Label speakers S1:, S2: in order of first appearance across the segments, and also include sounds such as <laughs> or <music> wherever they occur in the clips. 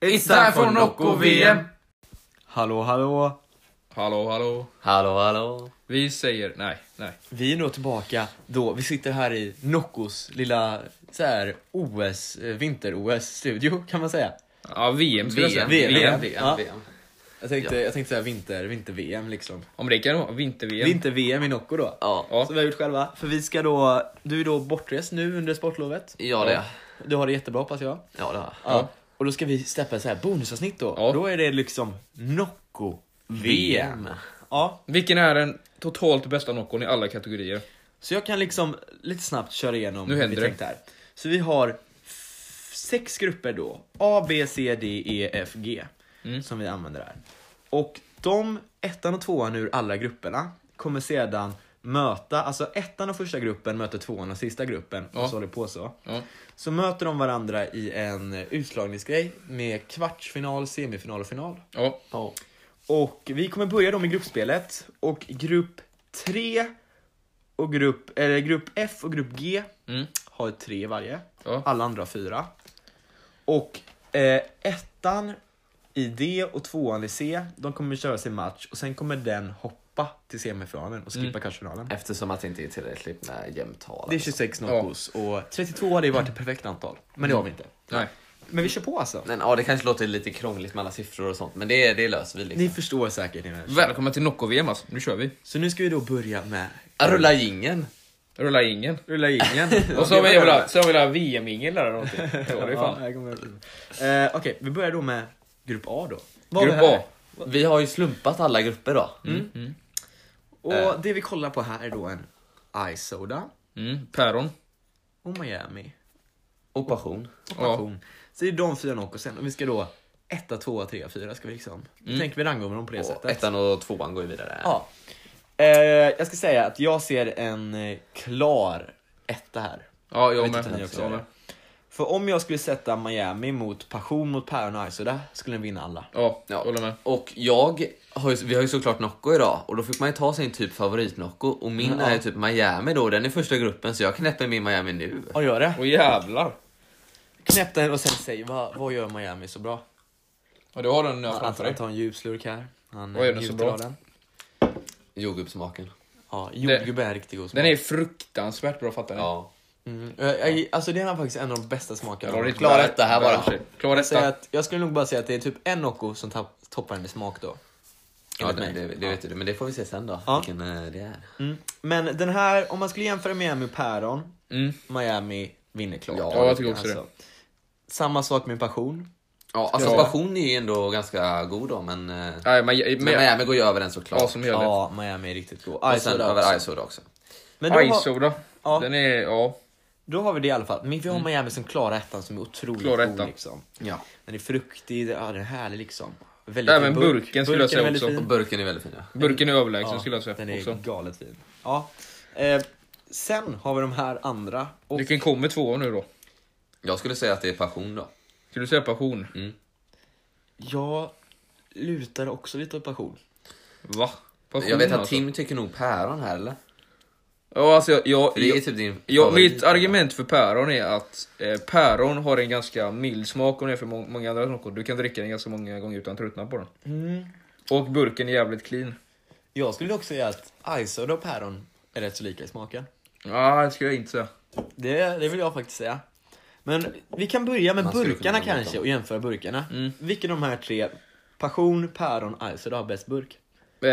S1: It's time for Nocco-VM.
S2: Hallå, hallå.
S1: Hallå, hallå.
S2: Hallå, hallå.
S1: Vi säger nej, nej.
S2: Vi är nog tillbaka då. Vi sitter här i Noccos lilla så här, OS, eh, vinter-OS-studio kan man säga.
S1: Ja, VM skulle jag säga.
S2: VM.
S1: VM.
S2: Ja. Jag tänkte, jag tänkte säga vinter, vinter-VM liksom.
S1: Om det kan vara vinter-VM.
S2: Vinter-VM i Nocco då.
S3: Ja,
S1: Ja.
S2: Som vi har gjort själva. För vi ska då, du är då bortrest nu under sportlovet.
S3: ja det.
S2: Du har det jättebra hoppas jag.
S3: Ja, det har jag.
S2: Ja. Och då ska vi släppa så här bonusavsnitt då.
S1: Ja.
S2: Då är det liksom Nocco-VM. Ja,
S1: Vilken är den totalt bästa Noccon i alla kategorier?
S2: Så jag kan liksom lite snabbt köra igenom
S1: Nu
S2: hur vi
S1: händer det.
S2: tänkte här. Så vi har f- sex grupper då. A, B, C, D, E, F, G.
S1: Mm.
S2: Som vi använder här. Och de, ettan och tvåan ur alla grupperna, kommer sedan möta, alltså ettan och första gruppen möter tvåan och sista gruppen.
S1: Ja.
S2: Och så håller det på så.
S1: Ja.
S2: Så möter de varandra i en utslagningsgrej med kvartsfinal, semifinal och final.
S1: Ja.
S3: Ja.
S2: Och vi kommer börja då med gruppspelet. Och grupp 3 och grupp, eller grupp F och grupp G
S1: Mm.
S2: har tre varje.
S1: Ja.
S2: Alla andra har fyra. Och eh, ettan i D och tvåan i C, de kommer köra sin match och sen kommer den hoppa till semifinalen och skippa kvartsfinalen.
S3: Eftersom att det inte är tillräckligt med jämnt tal.
S2: Det är 26 knockouts och 32 hade ju varit ett perfekt antal. Men det har vi inte.
S1: Nej.
S2: Men vi kör på alltså.
S3: Men ja, det kanske låter lite krångligt med alla siffror och sånt, men det, det löser vi liksom.
S2: Ni förstår säkert. ni människor.
S1: Välkommen till Nocco-VM alltså. Nu kör vi.
S2: Så nu ska vi då börja med
S3: Rulla jingeln!
S1: Rulla ingen.
S2: rulla ingen.
S1: Och så har vi jävla, så har vi jävla VM-ingel där eller någonting. Ja, det är
S2: Ja,
S1: fan.
S2: jag kommer ihåg. Eh, Okej, vi börjar då med grupp A då. Vad har vi
S1: Grupp
S2: här? Mm.
S1: A.
S3: Vi har ju slumpat alla grupper då. Mm.
S1: eh.
S2: Och det vi kollar på här är då en Ice Soda
S1: Mm. Päron.
S2: och Miami.
S3: Och passion.
S2: Och
S1: Ja.
S2: Passion. Så det är de fyra Noccosen och vi ska då etta, tvåa, trea, fyra ska vi liksom. Då
S1: Mm.
S2: tänker vi rangordna dem på det
S3: Och
S2: sättet.
S3: ettan och tvåan går ju vidare.
S2: Ja. Eh, jag ska säga att jag ser en eh, klar etta här.
S1: Ja, jag
S2: vet inte om ni
S1: med.
S2: också
S1: Jag
S2: gör
S1: med.
S2: det. För om jag skulle sätta Miami mot Passion mot Päron och Ice Soda skulle den vinna alla.
S1: Ja,
S3: Ja.
S1: håller med.
S3: Och jag har ju, vi har ju såklart Nocco idag och då fick man ju ta sin typ favoritnocco och min är ju typ Miami då, den är första gruppen så jag knäpper min Miami nu.
S2: Ja, gör det.
S1: Åh jävlar.
S2: Knäpp den och sen säg vad, vad gör Miami så bra?
S1: Ja, du har den nu
S2: Han,
S1: framför
S2: han
S1: dig.
S2: alltså, tar en djupslurk här. Han
S1: Vad gör den så
S2: njuter
S1: bra?
S2: av Den.
S3: Jordgubbssmaken.
S2: Ja, jordgubbe är riktigt god smak.
S1: Den är fruktansvärt bra fattar ni.
S3: Ja.
S2: Mm. Jag, jag, alltså det är faktiskt en av de bästa smakerna.
S1: Eller, det är
S3: Klara
S1: bra-
S3: detta här
S1: bra
S3: bara.
S1: för sig. Klara
S2: jag, säger
S1: detta.
S2: att, jag skulle nog bara säga att det är typ en Nocco som tapp, toppar den i smak då.
S3: Ja,
S2: Enligt
S3: det,
S2: mig.
S3: det, det vet du, men det får vi se sen då,
S2: Ja.
S3: vilken eh, det är.
S2: Mm. Men den här, om man skulle jämföra Miami och Päron.
S1: Mm.
S2: Miami vinner klart. Alltså,
S3: Ja,
S1: jag tycker också
S2: Samma sak med passion.
S3: Ja, alltså
S1: Ja.
S3: passion är ju ändå ganska god då, men... eh,
S1: Nej, men, men,
S3: Men Miami går ju över den såklart.
S1: ja, som gör det.
S2: Ja, Miami är riktigt god.
S3: och
S2: Ice
S3: sen
S2: Soda
S3: över
S2: också.
S3: Isoda också.
S2: Men då, har,
S1: Ice-soda.
S2: Ja.
S1: Den är, ja.
S2: då har vi det i alla fall. Men vi har Miami som klarar ettan som är otroligt
S1: Klara
S2: god.
S1: Mm. ettan.
S2: Liksom.
S3: Ja.
S2: Den är fruktig, ja, den är härlig liksom. Väldigt
S1: Även
S2: fin burk.
S1: burken skulle jag
S2: är
S1: säga
S2: väldigt
S1: också.
S2: fin.
S3: Och burken är väldigt fin. ja.
S1: Burken är överlägsen
S2: Ja,
S1: skulle jag säga
S2: Den är
S1: också.
S2: galet fin. Ja. Eh, sen har vi de här andra. Och
S1: Vilken kommer tvåa nu då?
S3: Jag skulle säga att det är passion då.
S1: Skulle du säga passion?
S3: Mm.
S2: jag lutar också lite åt passion.
S1: Va? Passion
S3: Jag vet att
S1: alltså.
S3: Tim tycker nog päron här eller?
S1: Ja, alltså jag... jag,
S3: För det är
S1: jag
S3: typ din
S1: Ja,
S3: favorit,
S1: mitt
S3: eller?
S1: argument för päron är att eh, päron har en ganska mild smak om det är för må- många andra smaker. Du kan dricka den ganska många gånger utan att tröttna på den.
S2: Mm.
S1: Och burken är jävligt clean.
S2: Jag skulle också säga att Isoda och päron är rätt så lika i smaken.
S1: Ja, det skulle jag inte säga.
S2: Det, det vill jag faktiskt säga. Men vi kan börja med
S3: Man skulle
S2: burkarna
S3: kunna gå mot
S2: kanske
S3: dem.
S2: och jämföra burkarna.
S1: Mm.
S2: Vilken av de här tre, passion, päron, Isoda har bäst burk?
S1: Eh,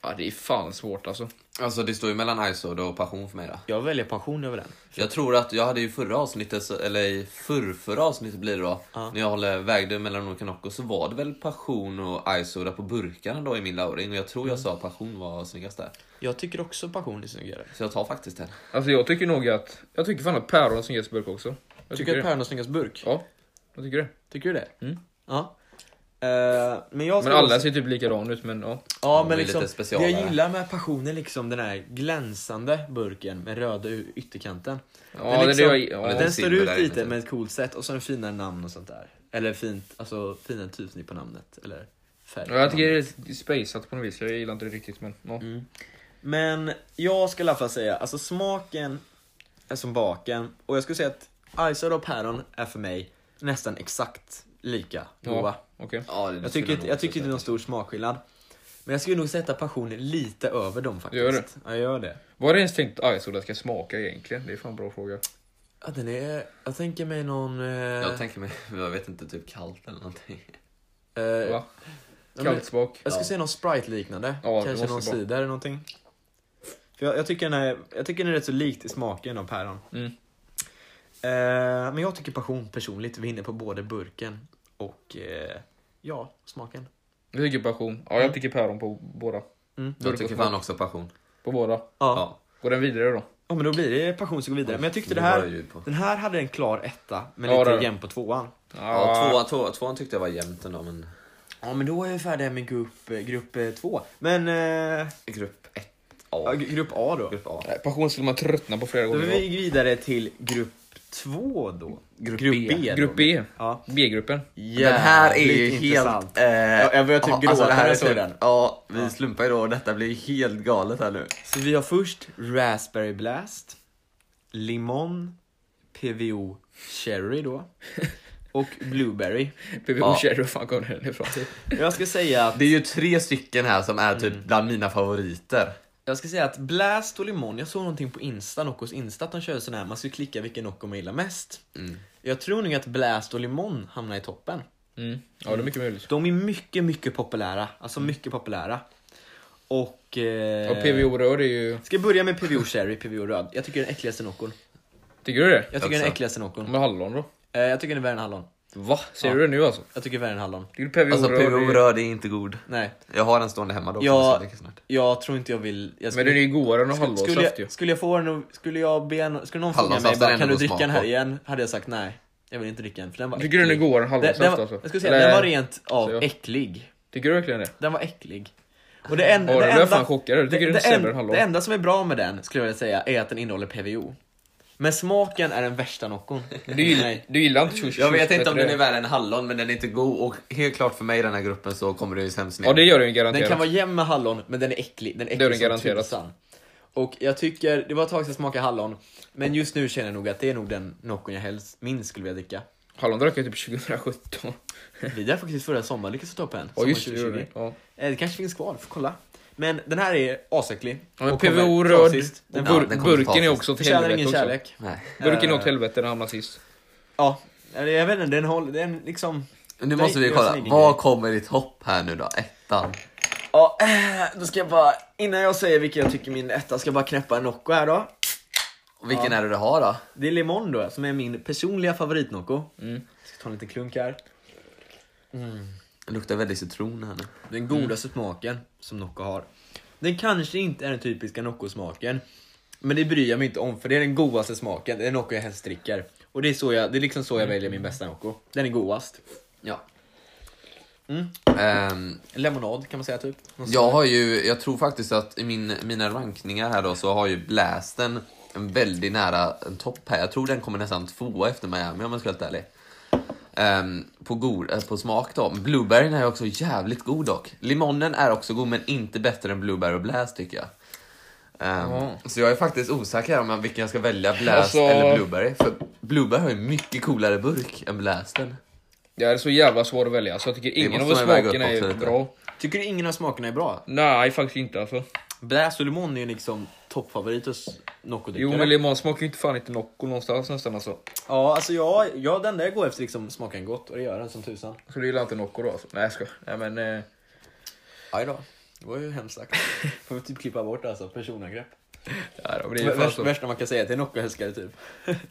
S1: ja, det är fan svårt alltså.
S3: Alltså det står ju mellan Isoda och passion för mig då.
S2: Jag väljer passion över den.
S3: Jag tror att jag hade ju förra avsnittet, så- eller i förrförra avsnittet blir det då, när jag håller, vägde mellan olika Nocco så var det väl passion och Isoda på burkarna då i min lauring och jag tror jag sa att passion var snyggast där.
S2: Jag tycker också passion är snyggare.
S3: Så jag tar faktiskt den.
S1: Alltså jag tycker nog att... Jag tycker fan att päron har snyggast burk också. Jag
S2: Tycker du
S1: det.
S2: att päron har snyggast burk?
S1: Ja, jag tycker det.
S2: Tycker du det?
S1: Mm.
S2: Ja. Eh, men jag
S1: Men
S2: skulle
S1: alla ser typ likadana ut men ja.
S2: Ja,
S3: De
S2: men
S3: är
S2: liksom,
S3: lite
S2: det
S3: specialare.
S2: jag gillar med passionen är liksom den här glänsande burken med röda u- ytterkanten.
S1: Ja, det är
S2: liksom,
S1: det jag- ja.
S2: den
S3: Lite
S2: står
S3: silver
S2: ut
S3: där
S2: lite
S1: typ.
S3: inne,
S2: med ett coolt sätt och så en finare namn och sånt där. Eller fint, alltså finare typsnitt på namnet. Eller färg.
S1: Ja, Jag tycker det är spaceat på något vis, jag gillar inte det riktigt men ja.
S2: Mm. Men jag skulle i alla fall säga, alltså smaken är som baken. Och jag skulle säga att Isoda och päron är för mig nästan exakt lika goda.
S1: Ja, okej.
S3: Ja, det- det
S2: Jag
S3: skulle
S2: tycker, inte-
S3: nog
S2: jag
S3: också
S2: tycker inte det är någon stor smakskillnad. Men jag skulle nog sätta passion lite över dem faktiskt.
S1: Gör det?
S2: Ja, jag gör det.
S1: Vad har du ens tänkt Ah, Isoda ska smaka egentligen? Det är fan en bra fråga.
S2: Eh, Ja, den är, jag tänker mig någon... Eh,
S3: säga. Jag tänker mig, <laughs> jag vet inte, typ kallt eller någonting.
S2: eh,
S1: Va?
S2: ja, men-
S1: Kallt smak.
S2: Jag skulle
S3: Ja.
S2: säga någon Sprite-liknande.
S1: Ja, det
S2: Kanske
S1: måste
S2: någon
S1: det vara.
S2: cider eller någonting. För jag, jag, tycker den är, jag tycker den är rätt så likt i smaken av päron.
S1: Mm.
S2: Eh, men jag tycker passion personligt vinner på både burken och eh, ja, smaken.
S1: Jag tycker passion. Ja, jag tycker päron på båda.
S2: Mm.
S3: Jag tycker fan också passion.
S1: På båda.
S2: Ja. ja.
S3: Ja.
S1: Går den vidare då?
S2: men då blir det passion som går vidare. Men jag tyckte det
S3: var
S2: här,
S3: ju på.
S2: den här hade en klar etta, men
S1: Ja, det-
S2: lite jämn på tvåan.
S3: Ja,
S1: Ah.
S3: tvåan, tvåan, tvåan tyckte jag var jämnt ändå, men
S2: Ja men då är vi färdiga med grupp, grupp eh, två. Men eh,
S3: grupp 1A.
S2: ja, gru- grupp A då.
S3: Grupp A.
S1: Nej, Passion skulle man tröttna på flera
S2: Då
S1: gånger.
S2: vill vi gick vidare till grupp två då.
S3: Grupp B.
S2: då.
S1: Grupp B.
S2: Ja.
S1: B-gruppen.
S3: Den här är ju
S2: Jävligt
S3: helt...
S2: intressant.
S3: Eh,
S2: Ja, jag börjar typ gråta
S3: det
S2: när
S3: här är
S2: jag såg
S3: typ-
S2: den.
S3: Ja, vi slumpar ju då och detta blir helt galet här nu.
S2: Så vi har först Raspberry Blast, Limon, PVO Cherry
S3: <laughs>
S2: då och Blueberry.
S1: PVO
S3: Ja.
S1: Cherry, var fan kom den ifrån?
S2: Jag ska säga att,
S3: Det är ju tre stycken här som är typ bland mina favoriter.
S2: jag ska säga att Blast och Limon, jag såg någonting på Insta, Noccos Insta, att de körde sån här, man skulle klicka vilken Nocco man gillar mest.
S3: Mm.
S2: Jag tror nog att Blast och Limon hamnar i toppen.
S1: Mm. Ja, det är mycket möjligt.
S2: De är mycket, mycket populära. Alltså mycket populära. Och... Eh,
S1: Och PVO Röd är ju...
S2: Ska jag börja med PVO Cherry, PVO Röd. Jag tycker den är äckligaste Noccon.
S1: Tycker du det?
S2: Jag tycker den är
S3: Också.
S2: äckligaste Noccon.
S1: Med hallon då?
S2: Eh, jag tycker den är värre än hallon.
S1: Va? Ser
S2: Ja.
S1: du det nu alltså?
S2: Jag tycker värre än hallon.
S1: Tycker du PVO
S3: Alltså
S1: Röd
S3: PVO
S1: är-
S3: röd är inte god.
S2: Nej.
S3: Jag har en stående hemma då.
S2: Ja.
S3: Ja. Snart.
S2: Jag tror inte jag vill... Jag
S1: Men den är ju godare än
S2: skulle,
S1: hallonsaft ju.
S2: jag, skulle jag få den och, Skulle jag be en, Skulle någon fråga mig
S3: Hallonsaft är
S2: bara,
S3: ändå
S2: kan du
S3: att
S2: dricka den här
S3: smaka.
S2: igen? Hade jag sagt nej. Jag vill inte dricka den för den var
S1: Tycker du den är
S2: äcklig.
S1: godare än
S2: Den, den,
S1: hallonsaft
S2: var-
S1: alltså?
S2: jag skulle säga,
S1: Eller-
S2: den var rent av
S1: Så ja.
S2: äcklig.
S1: Tycker du verkligen det?
S2: Den var äcklig. Och det, en,
S1: Ja,
S2: det,
S1: det blev
S2: enda,
S1: fan chockad. Jag tycker
S2: det,
S1: den är
S2: det,
S1: sämre än
S2: en,
S1: hallon.
S2: det enda som är bra med den, skulle jag vilja säga, är att den innehåller PVO. Men smaken är den värsta Noccon.
S1: <laughs> Du, gill,
S2: Nej.
S1: du gillar inte tjus
S3: Jag vet
S1: tjus
S3: inte om
S1: bättre.
S3: den är värre än hallon, men den är inte god. Och helt klart för mig i den här gruppen så kommer det ju sämst ner.
S1: Ja det gör den ju
S2: Den
S1: garanterat.
S2: kan vara jämn med hallon, men den är äcklig. Den är
S1: Det är
S2: äcklig
S1: den
S2: som
S1: garanterat.
S2: tusan. Och jag tycker, det var ett tag sedan jag smakade hallon, men just nu känner jag nog att det är nog den Noccon jag helst minst skulle vilja dricka.
S1: Hallon drack jag typ 2017.
S2: Vi där faktiskt förra sommaren lyckades få ta upp en.
S1: Ja
S2: sommaren
S1: just det, gjorde
S2: 2020.
S1: den. ja.
S2: Eh, det kanske finns kvar, får kolla. Men den här är asäcklig.
S1: Ja, men
S2: Och kommer
S1: PVO
S2: ta
S1: röd,
S2: sist. Den
S1: och
S3: Ja,
S1: bur
S3: den kommer ta
S1: burken är
S3: sist.
S1: också till
S2: förtjänar
S1: helvete
S2: ingen
S1: också.
S2: kärlek.
S3: Nej.
S1: Burken är
S2: Eh.
S1: åt helvete när han hamnar sist.
S2: Ja, eller jag vet inte, den håller, den liksom...
S3: Nu måste vi
S2: det är
S3: kolla.
S2: sin egen
S3: Vad
S2: grej.
S3: kommer ditt hopp här nu då? Ettan.
S2: Ja, eh, då ska jag bara, innan jag säger vilken jag tycker min etta, ska jag bara knäppa en Nocco här då.
S3: Och Vilken är det du har då?
S2: Det är Limon då, som är min personliga favorit Nocco. Jag ska ta en liten klunk här.
S3: Det luktar väldigt citron här nu.
S2: Den godaste smaken som Nocco har. Den kanske inte är den typiska Nocco-smaken. Men det bryr jag mig inte om, för det är den godaste smaken. Det är Nocco jag helst dricker. Och det är, så jag, det är liksom så jag väljer min bästa Nocco. Den är godast.
S3: Ja.
S2: Mm.
S3: Ehm,
S2: Lemonad kan man säga typ. Någon sån
S3: jag
S2: här.
S3: har ju, jag tror faktiskt att i min, mina rankningar här då så har ju Blasten en väldigt nära en topp här. Jag tror den kommer nästan tvåa efter Miami om jag ska vara helt ärlig. Ehm, på, god, eh, på smak då. Blueberryn är också jävligt god dock. Limonen är också god men inte bättre än Blueberry och Blast tycker jag. Ehm,
S1: Ja.
S3: Så jag är faktiskt osäker om jag- vilken jag ska välja, Blast
S1: Alltså-
S3: eller Blueberry. För Blueberry har ju mycket coolare burk än Blasten.
S1: Det är så jävla svårt att välja så jag tycker ingen av
S3: måste man väga
S1: smakerna
S3: upp också
S1: är
S3: lite.
S1: bra.
S2: Tycker du ingen av smakerna är bra?
S1: Nej faktiskt inte alltså.
S2: Bläs och limon är ju liksom toppfavorit hos Nocco-drickare.
S1: Jo men limon smakar ju inte fan inte Nocco någonstans nästan alltså.
S2: Ja, alltså jag, jag, den där går efter liksom smaken gott och det gör den som tusan.
S1: Så du gillar inte Nocco då alltså? Nej jag skojar. Nej men... Eh,
S2: Aj då. Det var ju hemskt <laughs> sagt. Får vi typ klippa bort alltså, personangrepp.
S1: ja, då, men det är ju fan
S2: Värst,
S1: så.
S2: värsta man kan säga till en Nocco-älskare typ.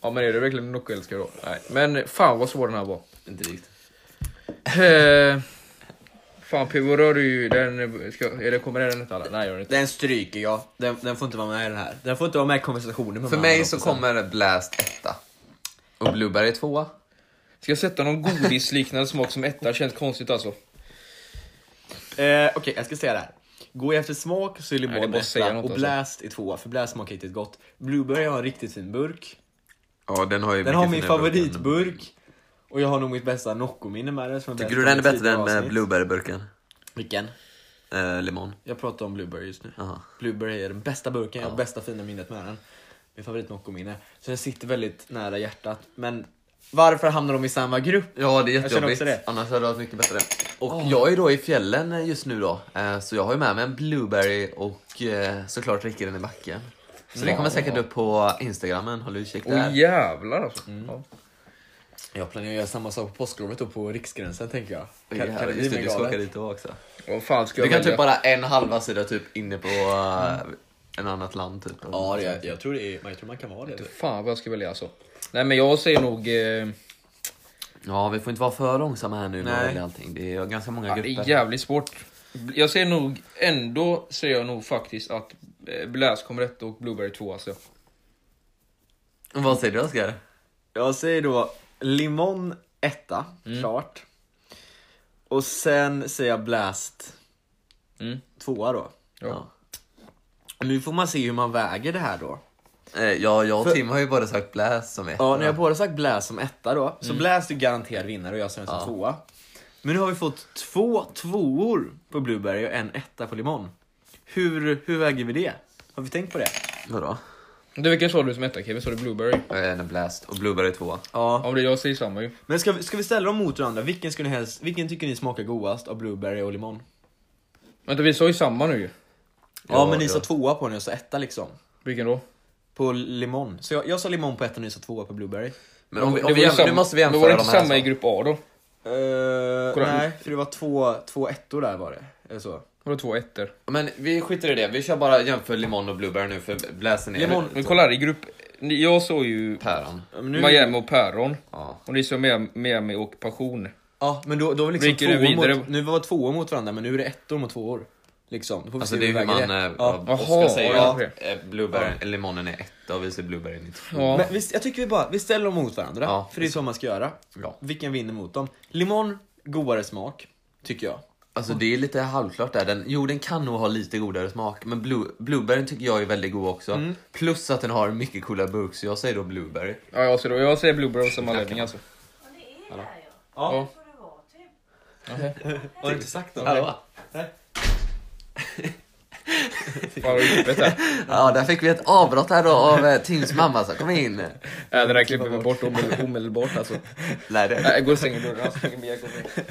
S1: Ja men är du verkligen Nocco-älskare då? Nej. Men fan vad svår den här var.
S3: Inte riktigt.
S1: Eh, fan PVO rör är ju den... Ska, eller kommer den inte alla? Nej gör den inte.
S2: Den stryker jag. Den, den får inte vara med i den här. Den får inte vara med i konversationen med
S3: För
S2: de
S3: mig
S2: andra
S3: så
S2: kompisarna.
S3: kommer Blast etta. Och Blueberry tvåa.
S1: Ska jag sätta någon godisliknande smak som etta? Känns konstigt alltså.
S2: Eh, Okej, jag ska säga det här. Går jag efter smak så är
S1: Nej, du
S2: limon
S1: måste säga
S2: etta
S1: något
S2: och
S1: alltså.
S2: blast är tvåa. För blast smakar riktigt gott. Blueberry har en riktigt fin burk.
S3: Ja, den har ju
S2: Den har min
S3: favoritburk.
S2: favoritburk. Och jag har nog mitt bästa Nocco-minne med den. som jag
S3: Tycker du
S2: berättade
S3: den
S2: i
S3: är bättre
S2: tidigare
S3: än eh,
S2: avsnitt.
S3: Blueberry-burken?
S2: Vilken?
S3: Eh, limon?
S2: Jag pratar om Blueberry just nu.
S3: Jaha.
S2: Blueberry är den bästa burken, jag har
S3: Ja.
S2: bästa fina minnet med den. Min favorit Nocco-minne. Så den sitter väldigt nära hjärtat. Men Varför hamnar de i samma grupp?
S3: Ja, det är
S2: Jag känner också
S3: jättejobbigt.
S2: det.
S3: Annars hade det varit mycket bättre. Och jag är då i fjällen just nu då. eh, Så jag har ju med mig en blueberry och eh, såklart räcker den i backen. Så det kommer säkert upp på instagrammen, håll utkik
S1: Åh
S3: där. Mm.
S1: jävlar alltså. Ja.
S2: Jag planerar att göra samma sak på påsklovet och på Riksgränsen tänker jag.
S3: Oj, herregud, Just det, du ska åka dit då också.
S1: Vad fan ska
S3: Du
S1: jag
S3: kan typ
S1: välja?
S3: bara en halva sida typ inne på eh, en annat land typ.
S2: Mm. Ja, det, jag, jag, tror det är, jag tror man kan vara det.
S1: Fan vad jag ska välja alltså. Nej men jag säger nog... Eh,
S3: Ja, vi får inte vara för långsamma här nu
S2: Nej.
S3: när vi väljer allting. Det är ganska många
S1: ja, det är
S3: grupper.
S1: jävligt svårt. Jag ser nog, ändå ser jag nog faktiskt att eh, Blast kommer rätt och Blueberry 2 alltså.
S3: Vad säger du Oskar?
S2: Jag säger då limon etta,
S3: Mm.
S2: klart. Och sen säger jag blast
S1: Mm.
S2: tvåa då.
S1: Ja.
S2: Och Nu får man se hur man väger det här då.
S3: Eh, Ja, jag och
S2: För-
S3: Tim har ju bara sagt Blast som ett.
S2: Ja, Mm. nu har jag både sagt Blast som etta då, så Blast är garanterad vinnare och jag säger som
S3: Ja.
S2: tvåa. Men nu har vi fått två tvåor på Blueberry och en etta på Limon. Hur, hur väger vi det? Har vi tänkt på det?
S3: Vadå?
S1: Du, vilken sa du som etta Kevin? Sa du Blueberry?
S3: Eh, En Blast och Blueberry 2.
S2: Ja.
S1: Ja, det jag säger samma ju.
S2: Men ska vi, ska vi ställa dem mot varandra? Vilken, skulle ni helst, vilken tycker ni smakar godast av Blueberry och Limon?
S1: Vänta, vi sa ju samma nu ju.
S2: Ja,
S3: Ja,
S2: men ni
S3: ja.
S2: sa tvåa på den och jag sa etta liksom.
S1: Vilken då?
S2: På Limon. Så jag, jag sa Limon på ettan och ni sa tvåa på Blueberry.
S3: Men om vi,
S1: Det
S3: om
S1: var ju
S3: vi jämför,
S1: samma-
S3: nu måste vi
S1: Men var
S3: jämföra
S1: det
S3: de
S1: inte
S3: här. alltså.
S1: samma i
S3: Samma
S1: grupp A då?
S2: Eh,
S1: Kolla.
S2: nej, för det var två, två ettor där var det. Eller så.
S1: Var det två ettor?
S3: Men vi skiter i det, vi kör bara jämför limon och blueberry nu för bläsen är typ
S2: Limon.
S1: Men kolla här, i grupp... Jag såg ju
S3: päron.
S2: Ja, Men nu,
S1: Miami och Päron.
S3: Ja.
S1: Och ni såg med Miami och Passion.
S2: Ja, men då, då var liksom
S1: Rycker du
S2: tvåor
S1: vidare?
S2: mot, nu var det tvåor mot varandra, men nu är det ettor mot tvåor. Liksom. Då får vi
S3: Alltså
S2: se
S3: det är
S2: vi
S3: hur
S2: väger
S3: man...
S2: det.
S3: eh,
S2: Ja.
S3: vad
S1: Jaha,
S3: Oskar säger
S1: ja,
S3: ja. eh, blueberry, limonen är etta och vi säger blueberry är två.
S1: Ja.
S2: Men visst, jag tycker vi bara vi ställer dem mot varandra,
S3: Ja,
S2: för det är så man ska göra.
S3: Ja.
S2: Vilken vinner mot dem? Limon, godare smak, tycker jag.
S3: Alltså det är lite halvklart där. Den, jo den kan nog ha lite godare smak, men blue, blueberryn tycker jag är väldigt god också.
S1: Mm.
S3: Plus att den har en mycket coolare burk, så jag säger då blueberry.
S1: Ja, jag ser, då. Jag ser Blueberry av samma anledning alltså.
S4: Men det är där ja.
S1: Ja.
S4: Det får det vara typ.
S2: Har du inte sagt något?
S3: Hallå?
S1: Fan vad djupet här.
S3: <laughs> Ja, där fick vi ett avbrott här då av eh, Tims mamma, så kom in.
S1: Äh, det där klipper vi bort omedel- omedelbart alltså.
S3: Nej, det...
S1: Nej, gå och stäng dörren. Jag stänger med, jag kommer.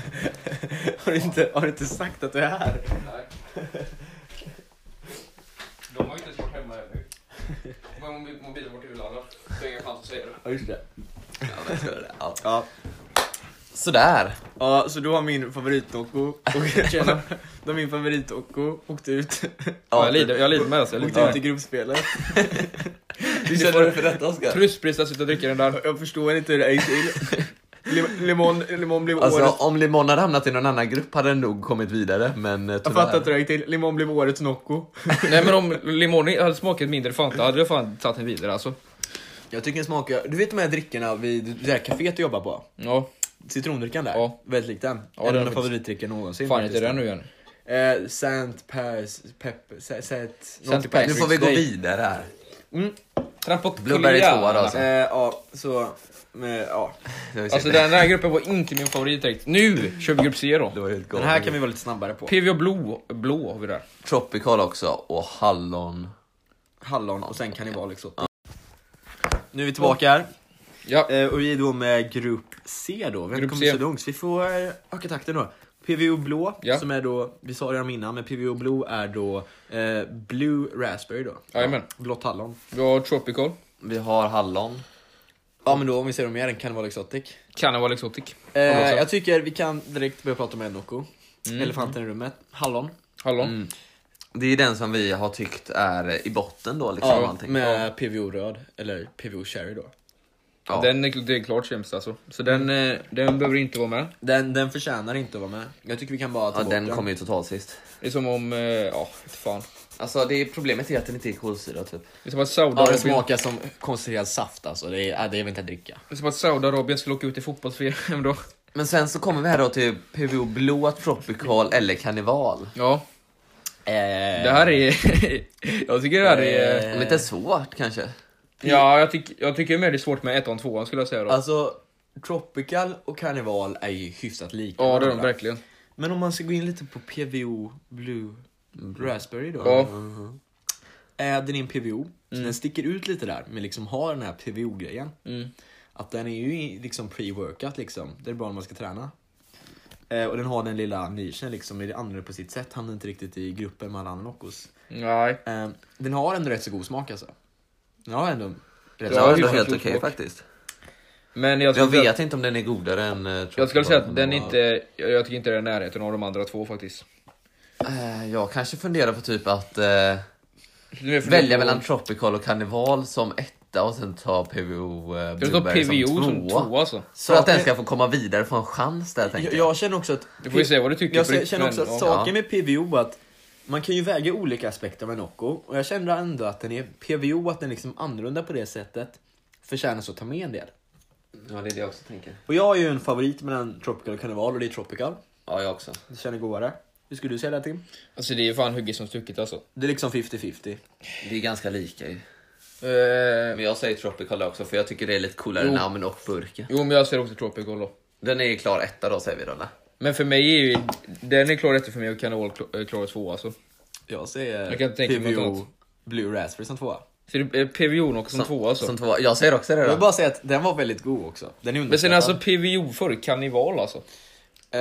S2: <laughs> Har, du inte, har du inte sagt att du är här?
S1: De har ju inte ens varit hemma ännu. Om mobilen varit urladdad så är ingen chans att säga det.
S2: Ja, just det.
S3: Ja, men så är det. Ja.
S2: Ja.
S3: Sådär.
S2: ja, så då har min favoritdocko, och jag känner, <laughs> då har min favoritdocko åkt ut,
S1: Ja, jag lider, jag lider med alltså. Jag
S2: åkt
S1: lider
S2: ut i
S1: med.
S2: gruppspelet.
S3: Du känner du för detta Oskar?
S1: Trustpris att sitta och dricka den där.
S2: Jag förstår inte hur det gick
S3: <laughs>
S2: till. Lim- Limon, limon blev
S3: Alltså
S2: årets...
S3: om Limon hade hamnat i någon annan grupp hade den nog kommit vidare, men eh,
S2: Jag
S3: tyvärr.
S2: fattar inte hur det gick till. Limon blev årets Nocco.
S1: Nej men om limonen hade smakat mindre Fanta hade jag fan tagit den vidare alltså.
S2: Jag tycker den smakar... Du vet de här drickorna vid det här kaféet du jobbar på?
S1: Ja,
S2: Citrondrickan där?
S1: Ja.
S2: Väldigt lik den.
S1: Ja, den
S2: en av mina
S1: är faktiskt-
S2: favoritdrickor någonsin.
S1: fan heter
S2: faktiskt.
S1: den nu igen?
S2: Eh, Saint Pers... Pep... Sa- Saint... någonting
S1: Pers.
S3: Nu får vi gå vidare här.
S2: Mm.
S1: Trampa
S3: Blueberry tvåa då, alltså.
S2: Eh, ja, så... Med, ja.
S3: Det var ju
S1: Alltså
S3: synd.
S1: den där gruppen var inte min favorit direkt. Nu kör vi grupp C då.
S3: Det var ju ett
S2: Den här kan vi vara lite snabbare på.
S1: PV och blå, blå har vi där.
S3: Tropical också, och hallon.
S2: Hallon och sen kannibal också. Nu är vi tillbaka här.
S1: Ja,
S2: Eh, och vi är då med grupp C då. Vem
S1: Grupp
S2: kommer
S1: C.
S2: så långt? Så vi får eh, öka takten då. PVO blå,
S1: Ja.
S2: som är då, vi sa det redan innan, men PVO blå är då eh, Blue Raspberry då.
S1: Jajamän.
S2: Blått hallon.
S1: vi har Tropical,
S3: Vi har hallon.
S2: Ja men då om vi ser dem mer, den kan vara exotic.
S1: Cannibal Exotic,
S2: Eh,
S1: Ja, men så.
S2: jag tycker vi kan direkt börja prata om en Nocco. Elefanten i rummet. Hallon.
S1: Hallon.
S3: Det är den som vi har tyckt är i botten då liksom.
S2: Ja,
S3: allting.
S2: med PVO röd, eller PVO cherry då.
S3: Ja.
S1: Den är, det är klart sämst alltså. Så den, eh, den behöver inte vara med.
S2: Den, den förtjänar inte att vara med. Jag tycker vi kan bara ta
S3: ja,
S2: bort
S3: den
S2: den.
S3: kommer ju totalt sist.
S1: Det är som om, eh, ja, inte fan.
S3: Alltså det är, problemet är att den inte är kolsyra typ.
S1: Det är som att Sauda
S2: Ja, den smakar som konserverad saft alltså. Det, är, äh, det vill inte dricka.
S1: Det är som att Saudiarabien skulle åka ut i fotbolls-VM då.
S3: Men sen så kommer vi här då till PVO blå, tropical eller karneval.
S1: Ja,
S2: Eh,
S1: det här är... <laughs> jag tycker det här är...
S2: Eh.
S3: Lite svårt kanske.
S1: Ja, jag, tyck, jag tycker mer det är svårt med ettan och tvåan skulle jag säga då.
S2: Alltså, Tropical och Karneval är ju hyfsat lika
S1: Ja, det är de
S2: varandra.
S1: verkligen.
S2: Men om man ska gå in lite på PVO Blue Raspberry då.
S1: Ja. Mm. Mm.
S2: Äh, den är en PVO, så den sticker ut lite där, men liksom har den här PVO-grejen. Att den är ju i- liksom pre-workout liksom. Det är bra om man ska träna. Eh, och den har den lilla nischen liksom, är det annorlunda på sitt sätt. Hamnar inte riktigt i gruppen med alla andra Noccos.
S1: Nej.
S2: Eh, den har ändå rätt så god smak alltså. Den har ändå rätt
S1: Ja,
S3: Ja,
S2: så
S3: det
S1: det
S3: var
S1: är
S3: helt
S1: så
S3: okej
S1: smak.
S3: faktiskt.
S1: Men jag,
S3: Jag
S1: tycker
S3: vet
S1: Att,
S3: inte om den är godare än... eh,
S1: jag skulle
S3: Tropical
S1: säga att
S3: Barn.
S1: den inte, jag jag tycker inte den är i närheten av de andra två faktiskt.
S3: Eh, Jag kanske funderar på typ att eh,
S1: Nu är jag
S3: välja
S1: förlåt.
S3: mellan Tropical och Carnival som etta och sen ta PVO eh,
S1: Jag tror
S3: Blueberry
S1: PVO
S3: som
S1: som två
S3: tvåa.
S1: alltså.
S3: Så att den ska få komma vidare och få en chans där
S2: Jag,
S3: tänker jag.
S2: jag känner också att...
S1: Du får ju säga vad du tycker
S2: Jag
S1: på riktigt,
S2: känner också
S1: men,
S2: att
S1: ja.
S2: saken med PVO är att man kan ju väga olika aspekter av en Nocco. Och jag känner ändå att den är PVO, att den är liksom annorlunda på det sättet. Förtjänas att ta med en del.
S3: Ja, det är det jag också tänker.
S2: Och jag är ju en favorit mellan Tropical och Carnival och det är Tropical.
S3: Ja, jag också.
S2: Det känner godare. Hur skulle du säga det Tim?
S1: Alltså det är ju fan hugget som stucket alltså.
S2: Det är liksom 50-50.
S3: Vi är ganska lika ju.
S1: Eh,
S3: Men jag säger Tropical också för jag tycker det är lite coolare
S1: Jo.
S3: namn och burken.
S1: jo men jag ser också Tropical då.
S3: Den är ju klar etta då säger vi då. eller?
S1: Men för mig är ju, den är klar etta för mig och Carnival kl- eh, klar två alltså.
S2: Jag säger
S1: Jag kan inte tänka mig något annat.
S2: Blue Raspberry som tvåa.
S1: Så det är PVO också som två alltså.
S3: Som två. Jag säger också det
S2: Jag
S3: då.
S2: vill bara säga att den var väldigt god också. Den är
S1: Men sen
S2: underskattad.
S1: alltså PVO för Carnival alltså.
S2: Eh,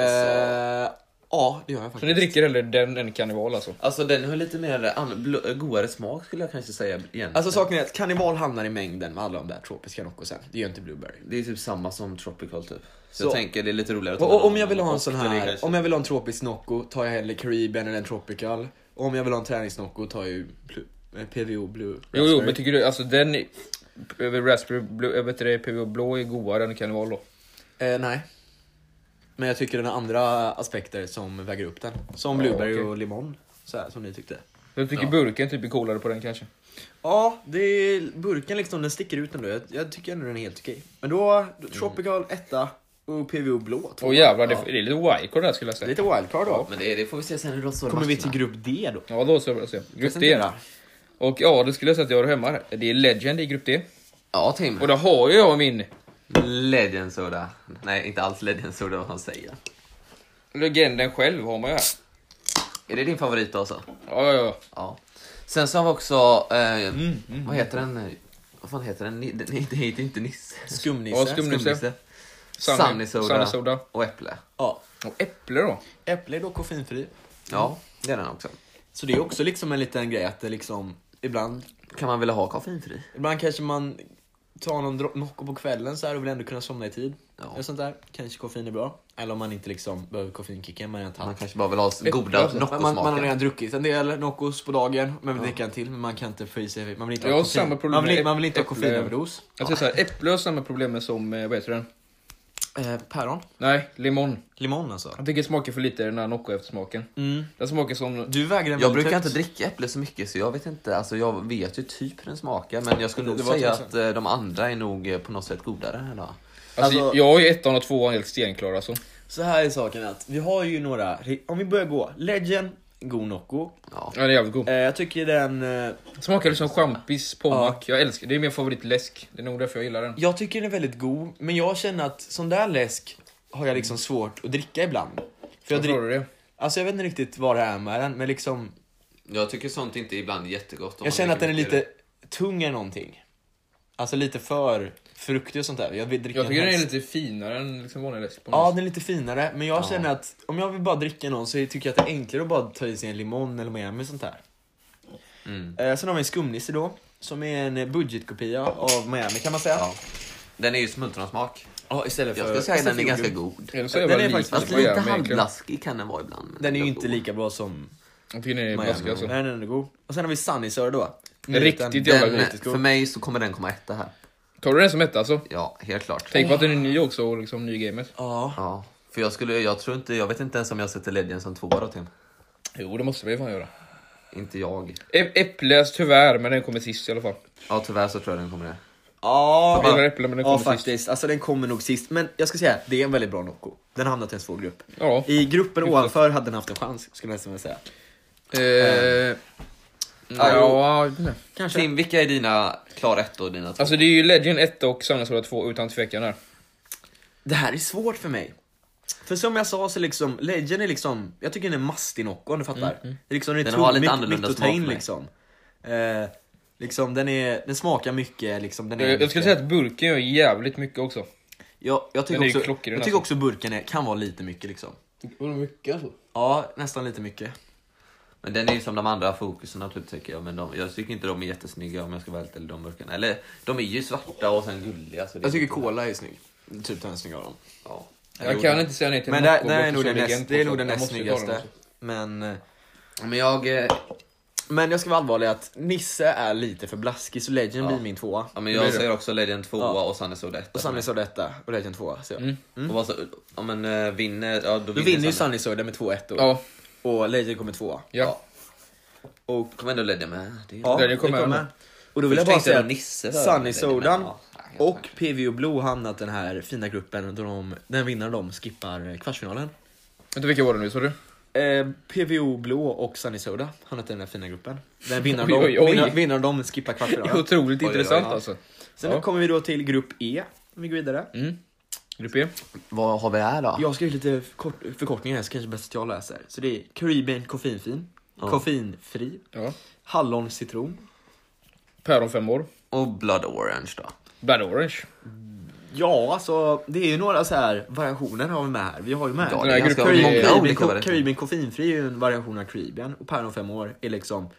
S2: ja, det gör
S1: Så ni
S2: jag faktiskt.
S1: dricker hellre den än Carnival alltså?
S3: Alltså den har lite mer an- bl- godare smak skulle jag kanske säga egentligen.
S2: Alltså saken är att Carnival hamnar i mängden med alla de där tropiska Noccosen. Det gör inte Blueberry.
S3: det är typ samma som Tropical typ.
S2: Så-
S3: Så, jag tänker det är lite roligare att
S2: Och,
S3: ta
S2: och om
S3: den.
S2: jag vill ha en
S3: Och
S2: sån
S3: den är
S2: här,
S3: kanske-
S2: om jag vill ha en tropisk Nocco tar jag hellre Caribbean eller en Tropical. Och om jag vill ha en träningsnocco tar jag ju plu- eh, PVO Blue
S1: Jo, jo,
S2: Raspberry.
S1: men tycker du alltså den i- över Raspberry Blue, jag vet inte det, PVO Blå är godare än Carnival då?
S2: Eh, nej. Men jag tycker den har andra aspekter som väger upp den. Som
S1: Ja,
S2: Blueberry
S1: okej.
S2: och Limon, så här, som ni tyckte.
S1: Jag tycker
S3: Ja.
S1: burken typ är coolare på den kanske.
S2: Ja, det är, burken liksom, den sticker ut ändå. Jag, jag tycker ändå den är helt okej. Men då, Tropical etta och PVO blå tvåa.
S1: Åh jävlar, det, det är lite wildcard där skulle jag säga.
S2: Lite wildcard då.
S3: Men det, det får vi se sen hur de står i
S2: Kommer vi till
S3: matcherna.
S2: grupp D då?
S1: Ja, då så. så- så. Grupp D.
S2: Presentera.
S1: Och ja, det skulle jag säga att jag har hemma här. Det är Legend i Grupp D.
S3: Ja, Tim.
S1: Och då har ju jag min
S3: Legend Soda. Nej, inte alls Legend Soda vad han säger.
S1: legenden själv har man ju här.
S3: Är det din favorit alltså?
S1: Ja, ja, ja.
S3: Ja. Sen så har vi också, eh,
S2: Mm,
S3: vad heter den? eh, Vad fan heter den? Ni- den- Nej, det heter inte Nisse.
S2: Skumnisse.
S1: Ja, skum- Skumnisse.
S3: Skumnisse.
S1: Sunny-
S3: Sunny Soda.
S1: Sunny Soda.
S3: Och Äpple.
S2: ja.
S1: Och äpple då?
S2: Äpple är då koffeinfri. Mm.
S3: Ja, det är den också.
S2: Så det är också liksom en liten grej att det liksom, ibland,
S3: Kan man vilja ha koffeinfri?
S2: ibland kanske man tar någon dro- Nocco på kvällen så här och vill ändå kunna somna i tid.
S3: Ja.
S2: Eller sånt där. Kanske koffein är bra. Eller om man inte liksom behöver koffeinkicken, man har redan
S3: Man
S2: tagit.
S3: kanske bara vill ha s- goda
S2: Man, man, man har
S3: Nocco-smaker.
S2: redan druckit en del Noccos på dagen, man vill dricka en till men man kan inte få i sig, man vill inte
S1: Jag
S2: ha
S1: har
S2: koffein.
S1: samma problem
S2: man, vill,
S1: med
S2: man vill inte ha
S1: äpple.
S2: koffeinöverdos.
S1: Jag säger såhär, äpple har samma problem som, eh, vad heter den?
S2: Eh, päron?
S1: Nej, limon.
S2: Limon alltså?
S1: Jag tycker det smakar för lite den här Nocco eftersmaken.
S2: Mm.
S1: Den smakar som... alltså,
S2: Du vägrar typ
S3: Jag brukar inte dricka äpple så mycket så jag vet inte, alltså jag vet ju typ hur den smakar men jag skulle
S2: Det
S3: nog
S2: var typ
S3: säga
S2: tusen.
S3: att eh, de andra är nog eh, på något sätt godare här då.
S1: Alltså,
S2: Alltså-
S1: jag har ju ettan och tvåan helt stenklar alltså.
S2: Så här är saken att vi har ju några, om vi börjar gå, Legend, god Nocco.
S3: Ja.
S1: Ja, den är jävligt god.
S2: Eh, jag tycker den eh,
S1: Smakar liksom champis, pommack. Jag älskar Det är min favoritläsk. Det är nog därför jag gillar den.
S2: Jag tycker den är väldigt god, men jag känner att sån där läsk har jag liksom svårt att dricka ibland. För jag,
S1: Varför har
S2: drick,
S1: du det?
S2: alltså jag vet inte riktigt vad det är med den, men liksom,
S3: Jag tycker sånt inte är ibland jättegott. om man
S2: jag känner att
S3: dricker
S2: den är
S3: mycket
S2: lite tung eller någonting. Alltså lite för fruktig och sånt där. Jag, vill dricka
S1: Jag tycker den är
S2: helst-
S1: lite finare än liksom vanlig läsk. På
S2: Ja,
S1: ja,
S2: den är lite finare, men jag känner att om jag vill bara dricka någon så tycker jag att det är enklare att bara ta i sig en limon eller med, med sånt här.
S3: Mm.
S2: Eh, sen har vi en skumnisse då, som är en eh, budgetkopia av Miami kan man säga.
S3: Ja. Den är ju smultronsmak.
S2: Ja, istället
S3: Jag skulle säga att
S2: istället
S3: den är
S2: för
S3: ganska
S2: jordgubb.
S3: god.
S1: Eller så är
S2: den
S1: den
S2: är
S1: väl lik
S2: faktiskt-
S1: vad
S3: Fast
S1: jag gör
S3: lite
S1: med egentligen.
S3: halvblaskig kan den vara ibland. men
S2: Den är ju
S3: ändå
S2: inte
S3: god.
S2: lika bra som
S1: Jag tycker den är
S2: Miami.
S1: blaskig alltså.
S2: Nej, den är god. Och sen har vi Sunny Sir då.
S1: Riktigt
S2: Den-
S1: jävla
S2: den-
S1: god.
S3: Mm. Den,
S2: riktigt god.
S3: för mig så kommer den komma etta här.
S1: Tar du den som etta alltså?
S3: Ja, helt klart.
S1: Tänk på att den är ny också och liksom ny i gamet.
S2: Ja.
S3: Ja, för jag skulle, jag tror inte, jag vet inte ens om jag sätter Ledgen som tvåa då Tim.
S1: Jo, det måste vi fan göra.
S3: Inte jag.
S1: Ä- Äpples tyvärr, men den kommer sist i alla fall.
S3: Ja, tyvärr så tror jag den kommer det.
S2: Ja,
S1: Jag gillar äpplen, men den kommer
S2: ja
S1: sist.
S2: faktiskt. Alltså den kommer nog sist. Men jag ska säga, det är en väldigt bra Nocco. Den har hamnat i en svår grupp.
S1: Ja.
S2: I gruppen ovanför hade den haft en chans, skulle jag nästan vilja säga.
S1: Eh, ja, jag vet inte.
S2: Kanske.
S3: Tim, vilka är dina klara ettor och dina två?
S1: Alltså det är ju Legend 1 och Sanna 2 utan tvekan här.
S2: Det här är svårt för mig. För som jag sa så liksom, Legend är liksom, jag
S1: Mhm.
S2: tycker den är mastig Nocco om du fattar. Det är liksom, den är
S3: Den
S2: tung,
S3: har lite
S2: mycket,
S3: annorlunda
S2: mycket att ta
S3: smak
S2: in
S3: för mig.
S2: liksom. Eh, Liksom, den, är, den smakar mycket. Liksom, den är
S1: Jag, jag
S2: lite-
S1: skulle säga att burken gör jävligt mycket också.
S2: jag, jag tycker,
S1: den är ju
S2: också,
S1: klockren, alltså.
S2: jag tycker också burken är, kan vara lite mycket. Liksom.
S5: Var det mycket alltså?
S2: Ja, nästan lite mycket.
S3: Men den är ju som de andra fokuserna typ tycker jag. Men de, jag tycker inte de är jättesnygga om jag ska vara helt ärlig, de burkarna. Eller de är ju svarta och sen gulliga. Så det
S5: Jag
S3: är
S5: tycker
S3: inte-
S5: Cola är snygg. Typ den snygga av dem.
S3: Ja.
S1: Jag kan inte säga nej till
S2: Men
S1: en
S2: det,
S1: Nocco
S2: det är
S1: Box som
S2: nog den
S1: ligger en
S2: näst, det är
S1: på
S2: nog den
S1: toppen. Jag
S2: näst
S1: måste ju ta den
S2: snyggaste.
S1: också.
S2: Men, eh,
S3: Men jag... eh,
S2: men jag ska vara allvarlig att Nisse är lite för blaskig så Legend blir min tvåa.
S3: Ja, men
S1: Det blir
S3: jag
S1: det.
S3: säger också Lady 2
S2: Ja.
S3: och Sanne Soda 1.
S2: Och Sunny sa detta och Legend tvåa. Så jag.
S1: Mm.
S3: Och vad så, ja, men eh, vinner... Ja, då
S2: Då vinner ju
S3: Sanne.
S2: Sunny Soda med 2-1 då.
S1: Ja,
S2: Och Legend kommer tvåa.
S1: ja.
S2: Och
S3: Kom ändå Lady med. eh, Det är-
S2: Ja,
S1: Där
S2: det
S1: det kommer
S2: kommer.
S1: han.
S2: Och då vill jag
S3: Först
S2: bara
S3: tänkte jag
S2: säga
S3: Nisse
S2: att
S3: där,
S2: Sunny
S3: men-
S2: Sodan
S3: Ja, helt
S2: och PVO Blue hamnat den här fina gruppen då de, den vinnaren de skippar kvartsfinalen.
S1: Vänta, vilka var det nu sa du?
S2: Eh, PVO Blue och Sunny Soda hamnat i den här fina gruppen. Den vinnaren
S1: Oj,
S2: de,
S1: oj, oj.
S2: vinnaren- vinnaren de skippar kvartsfinalen.
S1: Otroligt
S3: Oj, oj,
S1: intressant
S3: oj.
S1: alltså.
S2: Sen
S1: Ja.
S2: kommer vi då till grupp E. Om vi går vidare.
S1: Mm. Grupp E.
S3: Vad har vi här då?
S2: Jag skrev lite kort, förkortningar här så kanske bäst att jag läser. Så det är Caribbean koffeinfin, koffeinfri,
S1: Ja.
S2: hallon citron,
S1: Päron fem år.
S3: Och Blood Orange då.
S1: Blood Orange.
S2: Ja, alltså det är ju några så här variationer har vi med här. Vi har ju med
S3: Ja,
S1: det är ganska
S2: Caribbean,
S1: många
S2: Caribbean,
S3: olika
S2: Caribbean,
S3: variationer.
S2: koffeinfri är ju en variation av Caribbean och päron fem år är liksom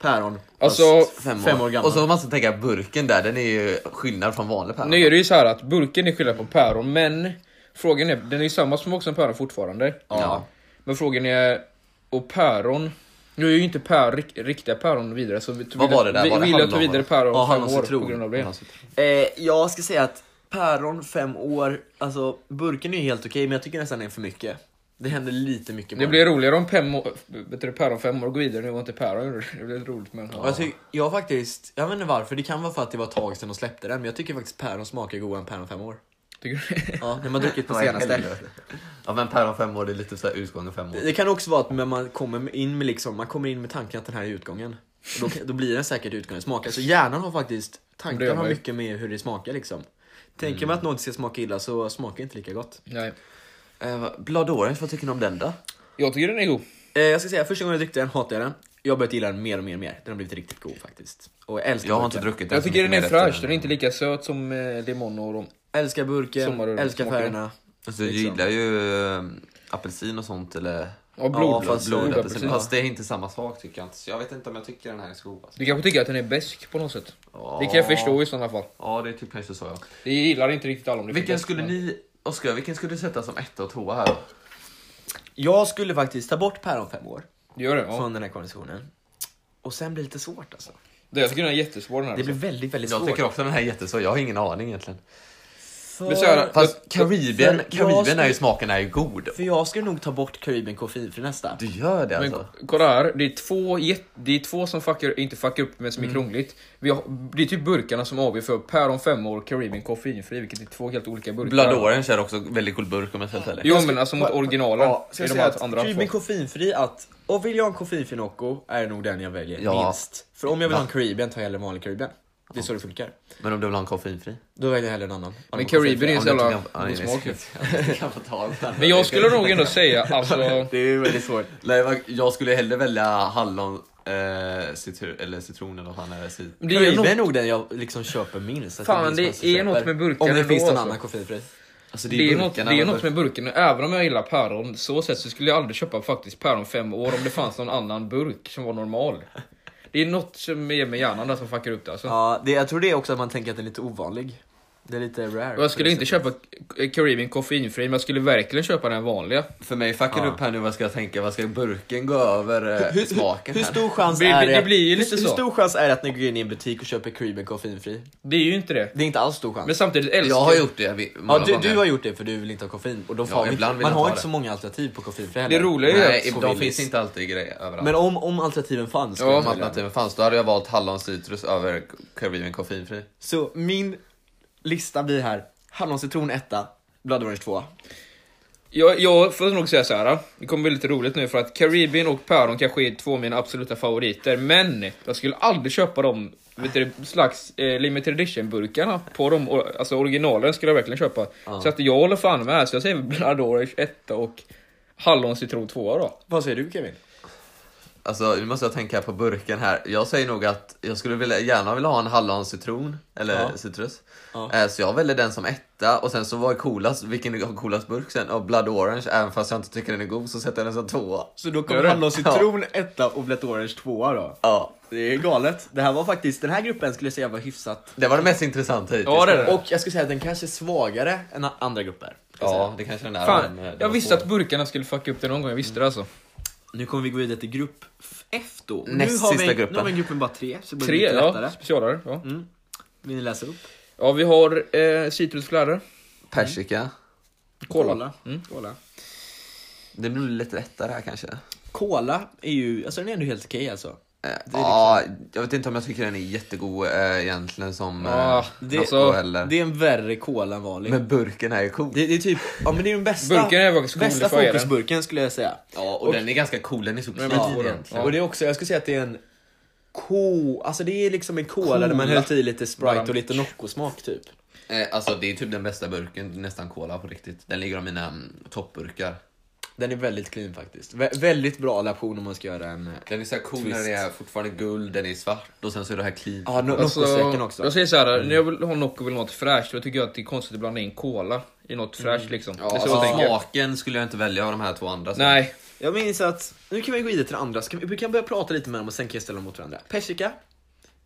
S2: päron
S1: Alltså,
S2: fast fem år, gammal.
S3: Och så måste man tänka burken där, den är ju skillnad från vanlig päron.
S1: Nu är det ju så här att burken är skillnad på päron, men frågan är, den är ju samma smak som päron fortfarande.
S3: Ja.
S1: Men frågan är, och päron, nu är ju inte pär, rik- riktiga päron vidare så vi
S3: Vad var det där?
S1: vi,
S3: Var det
S1: vi vill att du
S3: hallon,
S1: vidare
S3: va?
S1: päron
S2: Ja,
S1: fem
S2: hallon
S1: år
S2: citron.
S1: på grund av det.
S2: eh, jag ska säga att päron fem år, alltså burken är ju helt okej men jag tycker nästan det är för mycket. Det händer lite mycket
S1: Det
S2: bara.
S1: blir roligare om fem år, vet du, päron fem år går vidare nu och inte päron <laughs> gjorde det. Det blir lite roligt men...
S2: Och Jag, tycker, jag har faktiskt, jag vet inte varför, det kan vara för att det var ett tag sedan de släppte den men jag tycker faktiskt päron smakar godare än päron fem år.
S1: Tycker du det?
S2: Ja, när man druckit på
S3: Ja,
S2: senaste.
S3: helvete. Ja men päron fem år, det är lite så här utgången fem år.
S2: Det kan också vara att när man kommer in med, liksom, man kommer in med tanken att den här är utgången. Och Då, då blir den säkert utgången smakar. Så hjärnan har faktiskt,
S1: Det gör
S2: tanken
S1: man
S2: har
S1: ju.
S2: mycket med hur det smakar liksom. Tänker
S3: Mm.
S2: man att något ska smaka illa så smakar det inte lika gott.
S1: Nej.
S3: Eh, vad- Blood Orange, vad tycker ni om den då?
S1: Jag tycker den är god.
S2: Eh, jag ska säga, första gången jag drickte den hatade jag den. Jag har börjat gilla den mer och mer och mer. Den har blivit riktigt god faktiskt. Och jag älskar
S3: Jag har inte
S2: burken.
S3: druckit den.
S1: Jag
S3: så
S1: tycker den är
S3: mycket mer efter
S1: fräsch, den är inte lika söt som eh, limon och rom.
S2: Älskar burken,
S1: Sommaröl
S2: älskar
S1: smakar den.
S2: färgerna.
S3: Alltså, jag gillar ju eh, apelsin och sånt eller
S1: Liksom. Ja, blod,
S2: fast-
S1: blodapelsin.
S3: blodapelsin. Fast det är inte samma smak tycker jag inte. Så jag vet inte om jag tycker den här är så god. Alltså.
S1: Du kanske tycker att den är besk på något sätt. Det kan jag förstå i sådana fall.
S3: Ja, det är typ kanske så ja.
S1: Det gillar inte riktigt alla om det
S3: Vilken
S1: finns.
S3: skulle ni, Oskar, vilken skulle du sätta som etta och tvåa här då?
S2: Jag skulle faktiskt ta bort päron fem år
S1: Du gör det? Ja.
S2: från den här konditionen. Och sen blir det lite svårt alltså.
S1: Det, jag tycker den är jättesvår den här.
S2: Det blir väldigt, väldigt
S3: Jag
S2: svårt.
S3: tycker också den här är jättesvår, jag har ingen aning egentligen.
S2: För-
S1: Men så här,
S3: Fast Karibien,
S2: för jag
S3: Karibien är ju
S2: skulle-
S3: smaken är ju god.
S2: För jag skulle nog ta bort Caribbean Coffee för nästa.
S3: Du gör det
S1: Men
S3: alltså?
S1: kolla här, det är två, jätte- det är två som fuckar, inte fuckar upp men som är
S2: Mm.
S1: krångligt. Vi har, det är typ burkarna som avgör för päron fem år, Caribbean koffeinfri, vilket är två helt olika burkar.
S3: Blood Orange är också väldigt god burk om jag ska säga det.
S1: Jo men alltså mot originalen.
S2: Ja, ska
S1: är
S2: jag
S1: de
S2: säga
S1: här
S2: att
S1: andra
S2: Caribbean
S1: två.
S2: koffeinfri att, och vill jag ha en koffeinfri Nocco är nog den jag väljer
S3: Ja.
S2: minst. För om jag vill ha en Caribbean tar jag hellre en vanlig Caribbean. Det är så det funkar.
S3: Men om du vill ha en koffeinfri? Alltså,
S2: Då väljer jag hellre en annan.
S1: Men Caribbean är
S3: Ja,
S1: så
S3: men
S1: jävla
S3: jag tycker- ja,
S1: god
S3: nej,
S1: smak ju.
S3: jag kan få ta allt annat.
S1: Men jag skulle nog
S2: <laughs>
S1: ändå säga alltså...
S2: Det är väldigt <laughs> svårt.
S3: Nej, vad- Jag skulle hellre välja hallon, eh, citru, eller citron eller vad fan är det? Cit-
S1: Det är
S2: Caribbean
S1: nog,
S2: är nog den jag liksom köper minst. att
S1: Fan,
S2: finns
S1: det
S2: massa som
S1: är
S2: köper.
S1: något med burkar
S2: Om det
S1: ändå,
S2: finns någon
S1: alltså.
S2: annan koffeinfri.
S3: Alltså
S1: det är, något,
S3: burkarna
S1: det är
S3: man
S1: något med burken, även om jag gillar päron så sett så skulle jag aldrig köpa faktiskt päron fem år om det fanns någon annan burk som var normal. Det är något som är med hjärnan där som fuckar upp det alltså.
S2: Ja, det, jag tror det är också att man tänker att den är lite ovanlig. Det är lite rare.
S1: Och jag skulle inte köpa Caribbean koffeinfri, men jag skulle verkligen köpa den vanliga.
S3: För mig fuckar det upp här nu vad ska jag tänka, vad ska burken gå över eh, smaken
S2: Hur
S3: här?
S2: stor chans
S1: Det-
S2: är
S1: det-
S2: det?
S1: det blir ju lite
S2: hur,
S1: så.
S2: hur stor chans är det att ni går in i en butik och köper Caribbean koffeinfri?
S1: Det är ju inte det.
S2: Det är inte alls stor chans.
S1: Men samtidigt älskar
S3: Jag har gjort det jag vet- många
S2: ja, du,
S3: gånger.
S2: du har gjort det för du vill inte ha koffein. Och då får
S3: Ja,
S2: vi inte,
S3: ibland vill
S2: man
S3: jag
S2: har
S3: ta
S2: inte
S3: det.
S2: så många alternativ på koffeinfri heller.
S1: Det roliga är ju
S3: Nej,
S1: att-
S3: idag finns inte alltid grejer överallt.
S2: Men om, om alternativen fanns. skulle
S3: Ja,
S2: jag
S3: om
S2: välja.
S3: alternativen fanns, då hade jag valt hallon citrus över Caribbean koffeinfri.
S2: Så min lista blir här. Halloncitron etta, Blood Orange tvåa.
S1: Jag, jag får nog säga så här. det kommer bli lite roligt nu för att Caribbean och päron kanske är två av mina absoluta favoriter, men jag skulle aldrig köpa de vet du, slags eh, limited edition burkarna på dem, or- alltså originalen skulle jag verkligen köpa. Så att jag håller fan med, här, så jag säger Blood Orange 1 och Hallon citron 2 då.
S2: Vad säger du Kevin?
S3: Alltså nu måste jag tänka på burken här. Jag säger nog att jag skulle vilja, gärna vilja ha en hallon-citron, eller
S5: Ja.
S3: citrus.
S5: Ja.
S3: Eh, Så jag väljer den som etta, och sen så var coolast, vilken har coolast burk sen? Och Blood Orange, även fast jag inte tycker den är god så sätter jag den som tvåa.
S2: Så då
S1: Gör
S2: kommer
S1: det?
S2: hallon-citron etta och Blood Orange tvåa då.
S3: Ja,
S2: Det är galet. Det här var faktiskt, den här gruppen skulle jag säga var hyfsat.
S3: det var det mest intressanta hittills.
S1: Ja, det är det.
S2: Och jag skulle säga att den kanske är svagare än a- andra grupper. ska jag
S3: Ja,
S2: säga.
S3: det kanske den är.
S1: Fan,
S3: men, eh, det
S1: jag
S3: var
S1: visste
S3: svårt.
S1: att burkarna skulle fucka upp det någon gång, jag visste det alltså.
S2: Nu kommer vi gå vidare till grupp F då. Och
S3: Näst
S2: nu har
S3: sista
S2: vi,
S3: gruppen.
S2: Nu har vi gruppen bara tre, så det blir
S1: Tre,
S2: lite lättare.
S1: ja. Specialare. Ja.
S3: Mm.
S2: Vill ni läsa upp?
S1: ja, vi har eh, citrusfläder.
S3: Persika.
S1: Kola.
S2: Kola. Kola.
S3: Det blir nog lite lättare här kanske. Eh,
S2: Kola är ju, alltså den är ändå helt okej alltså.
S3: Ja, jag vet inte om jag tycker den är jättegod eh, egentligen som
S1: Ja,
S3: eh,
S2: det-
S3: Nocco
S1: alltså,
S3: eller...
S2: Det är en värre kola än vanlig.
S3: Men burken är ju cool.
S2: det, det är typ, ja men det är den bästa,
S1: Burken är faktiskt cool,
S2: bästa
S1: får jag ge den.
S2: fokusburken skulle jag säga.
S3: Ja, och, den är ganska cool. Den är så clean
S1: men- ja.
S3: egentligen.
S2: Och det är också, jag skulle säga att det är en ko, alltså det är liksom en cola där man höll i lite Sprite och lite Nocco-smak typ.
S3: Eh, alltså det är typ den bästa burken, nästan cola på riktigt. Den ligger av mina mm, toppburkar.
S2: Den är väldigt clean faktiskt. Vä- väldigt bra laption om man ska göra en...
S3: Den är så här cool när den är fortfarande guld, den är svart och sen så är det här clean.
S2: Ja, no-
S1: Alltså,
S2: Nocco-strecken också. Mm.
S1: Jag säger såhär, när jag vill ha Nocco vill ha något fräscht, då tycker jag att det är konstigt att blanda in cola i något
S2: Mm.
S1: fräscht liksom.
S3: Ja,
S1: det är så
S3: alltså,
S1: jag tänker.
S3: smaken skulle jag inte välja av de här två andra. så-
S1: Nej,
S2: Jag minns att, nu kan vi gå vidare till andra, så kan vi, vi kan börja prata lite med dem och sen kan jag ställa dem mot varandra. Persika.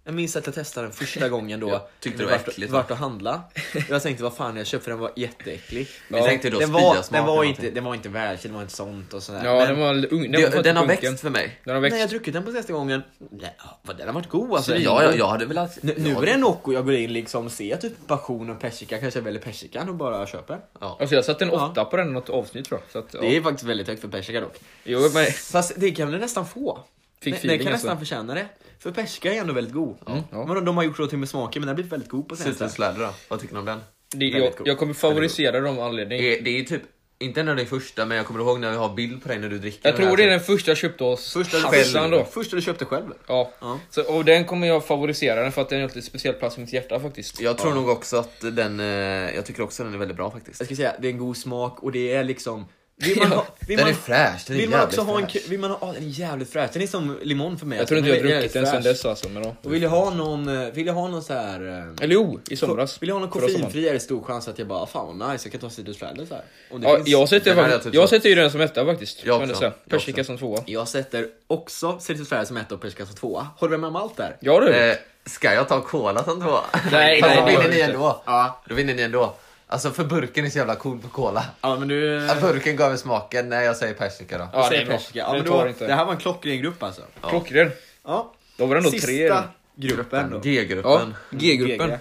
S2: Jag minns att jag testade den
S3: <laughs>
S2: första gången då.
S3: Jag tyckte det var
S2: vart,
S3: äckligt, va?
S2: Vart att handla. Jag tänkte vad fan jag köpte för den var jätteäcklig.
S3: Vi tänkte då
S2: den, var,
S3: spya
S2: den, var
S3: eller
S2: inte,
S3: någonting.
S2: den var inte välkänd, den var inte sånt och sådär.
S1: ja,
S2: Men-
S1: den var lite ung. Den,
S3: Det-
S1: var faktiskt
S3: Den har
S1: unken.
S3: växt för mig.
S1: Den har
S2: Nej,
S1: växt.
S2: jag har druckit den på senaste gången. Nej, vad den har varit god alltså.
S3: Så, ja, jag, jag hade velat...
S2: Nu, nu
S3: ja,
S2: är det Nocco jag går in liksom ser typ passion och persika, kanske jag väljer persikan och bara köper.
S1: Alltså jag satte en
S2: Ja.
S1: åtta på den i något avsnitt tror jag. Så att, ja.
S2: Det är faktiskt väldigt högt för persika dock.
S1: Jo, men
S2: Fast det kan du nästan få.
S1: Fick
S2: Nej,
S1: feeling
S2: den kan
S1: alltså.
S2: nästan förtjäna det. För persika är ändå väldigt god.
S1: ja.
S2: Men de, de har gjort någonting med smaken men den har blivit väldigt god på senaste.
S3: Citrusläder då? Vad tycker ni om den?
S1: det, jag,
S2: väldigt god.
S1: jag kommer favorisera dem av anledning.
S3: Det är, det är typ, inte en av din första, men jag kommer ihåg när vi har bild på dig när du dricker.
S1: Jag
S3: den här,
S1: tror
S3: typ.
S1: det är
S3: så-
S1: den första jag köpte hos
S2: Första du,
S1: farsan då.
S2: första du köpte själv.
S1: Ja.
S2: Ja.
S1: Så, och den kommer jag favorisera den för att den har en speciell plats i mitt hjärta faktiskt.
S3: Jag tror nog också att den, eh, jag tycker också att den är väldigt bra faktiskt.
S2: Jag ska säga, det är en god smak och det är liksom...
S1: <laughs>
S2: Vill man,
S1: Ja,
S2: ha, vill
S3: den
S2: man,
S3: är fräsch, den är
S2: vill man
S3: jävligt
S2: också ha en...
S3: fräsch.
S2: kr- Vill man ha, ja, den är jävligt fräsch. Den är som limon för mig.
S1: Jag tror inte jag har
S2: Den är
S1: druckit den sen
S2: jävligt fräsch.
S1: dess alltså. Men då.
S2: Och vill jag ha någon, eh, vill jag ha någon så här... eh,
S1: Eller jo, i somras.
S2: Vill jag ha någon
S1: Förra sommaren.
S2: koffeinfri är det stor chans att jag bara, fan vad nice, jag kan ta citrusfläder så här. Om det
S1: Ja,
S2: finns.
S1: jag sätter,
S3: Den hade
S1: jag,
S3: jag typ
S1: jag
S3: satt.
S1: sätter ju den som etta faktiskt.
S3: Jag
S1: Jag
S3: också. Jag
S1: Persika
S3: också.
S1: som tvåa.
S2: Jag sätter också citrusfläder som etta och persika som tvåa. Håller du med om allt där?
S1: Ja du.
S3: Eh, ska jag ta cola som två?
S1: Nej,
S3: <laughs> Fast
S1: nej,
S3: då
S1: nej,
S3: vinner ni
S1: inte.
S3: ändå.
S2: Ja.
S3: Då vinner ni ändå. Alltså för burken är så jävla cool på cola.
S2: Ja men du...
S3: Ja, Burken gav mig smaken, nej jag säger persika då.
S1: Ja,
S2: du
S1: det
S2: säger
S1: är bra.
S2: persika. Ja,
S1: Den
S2: men
S1: tar
S2: då,
S1: inte.
S2: det här var en klockren grupp alltså.
S1: Klockren.
S2: Ja.
S1: Då var det ändå
S2: Sista
S1: tre.
S2: gruppen då.
S1: Ja,
S3: G-gruppen.
S1: G-gruppen.
S2: GG.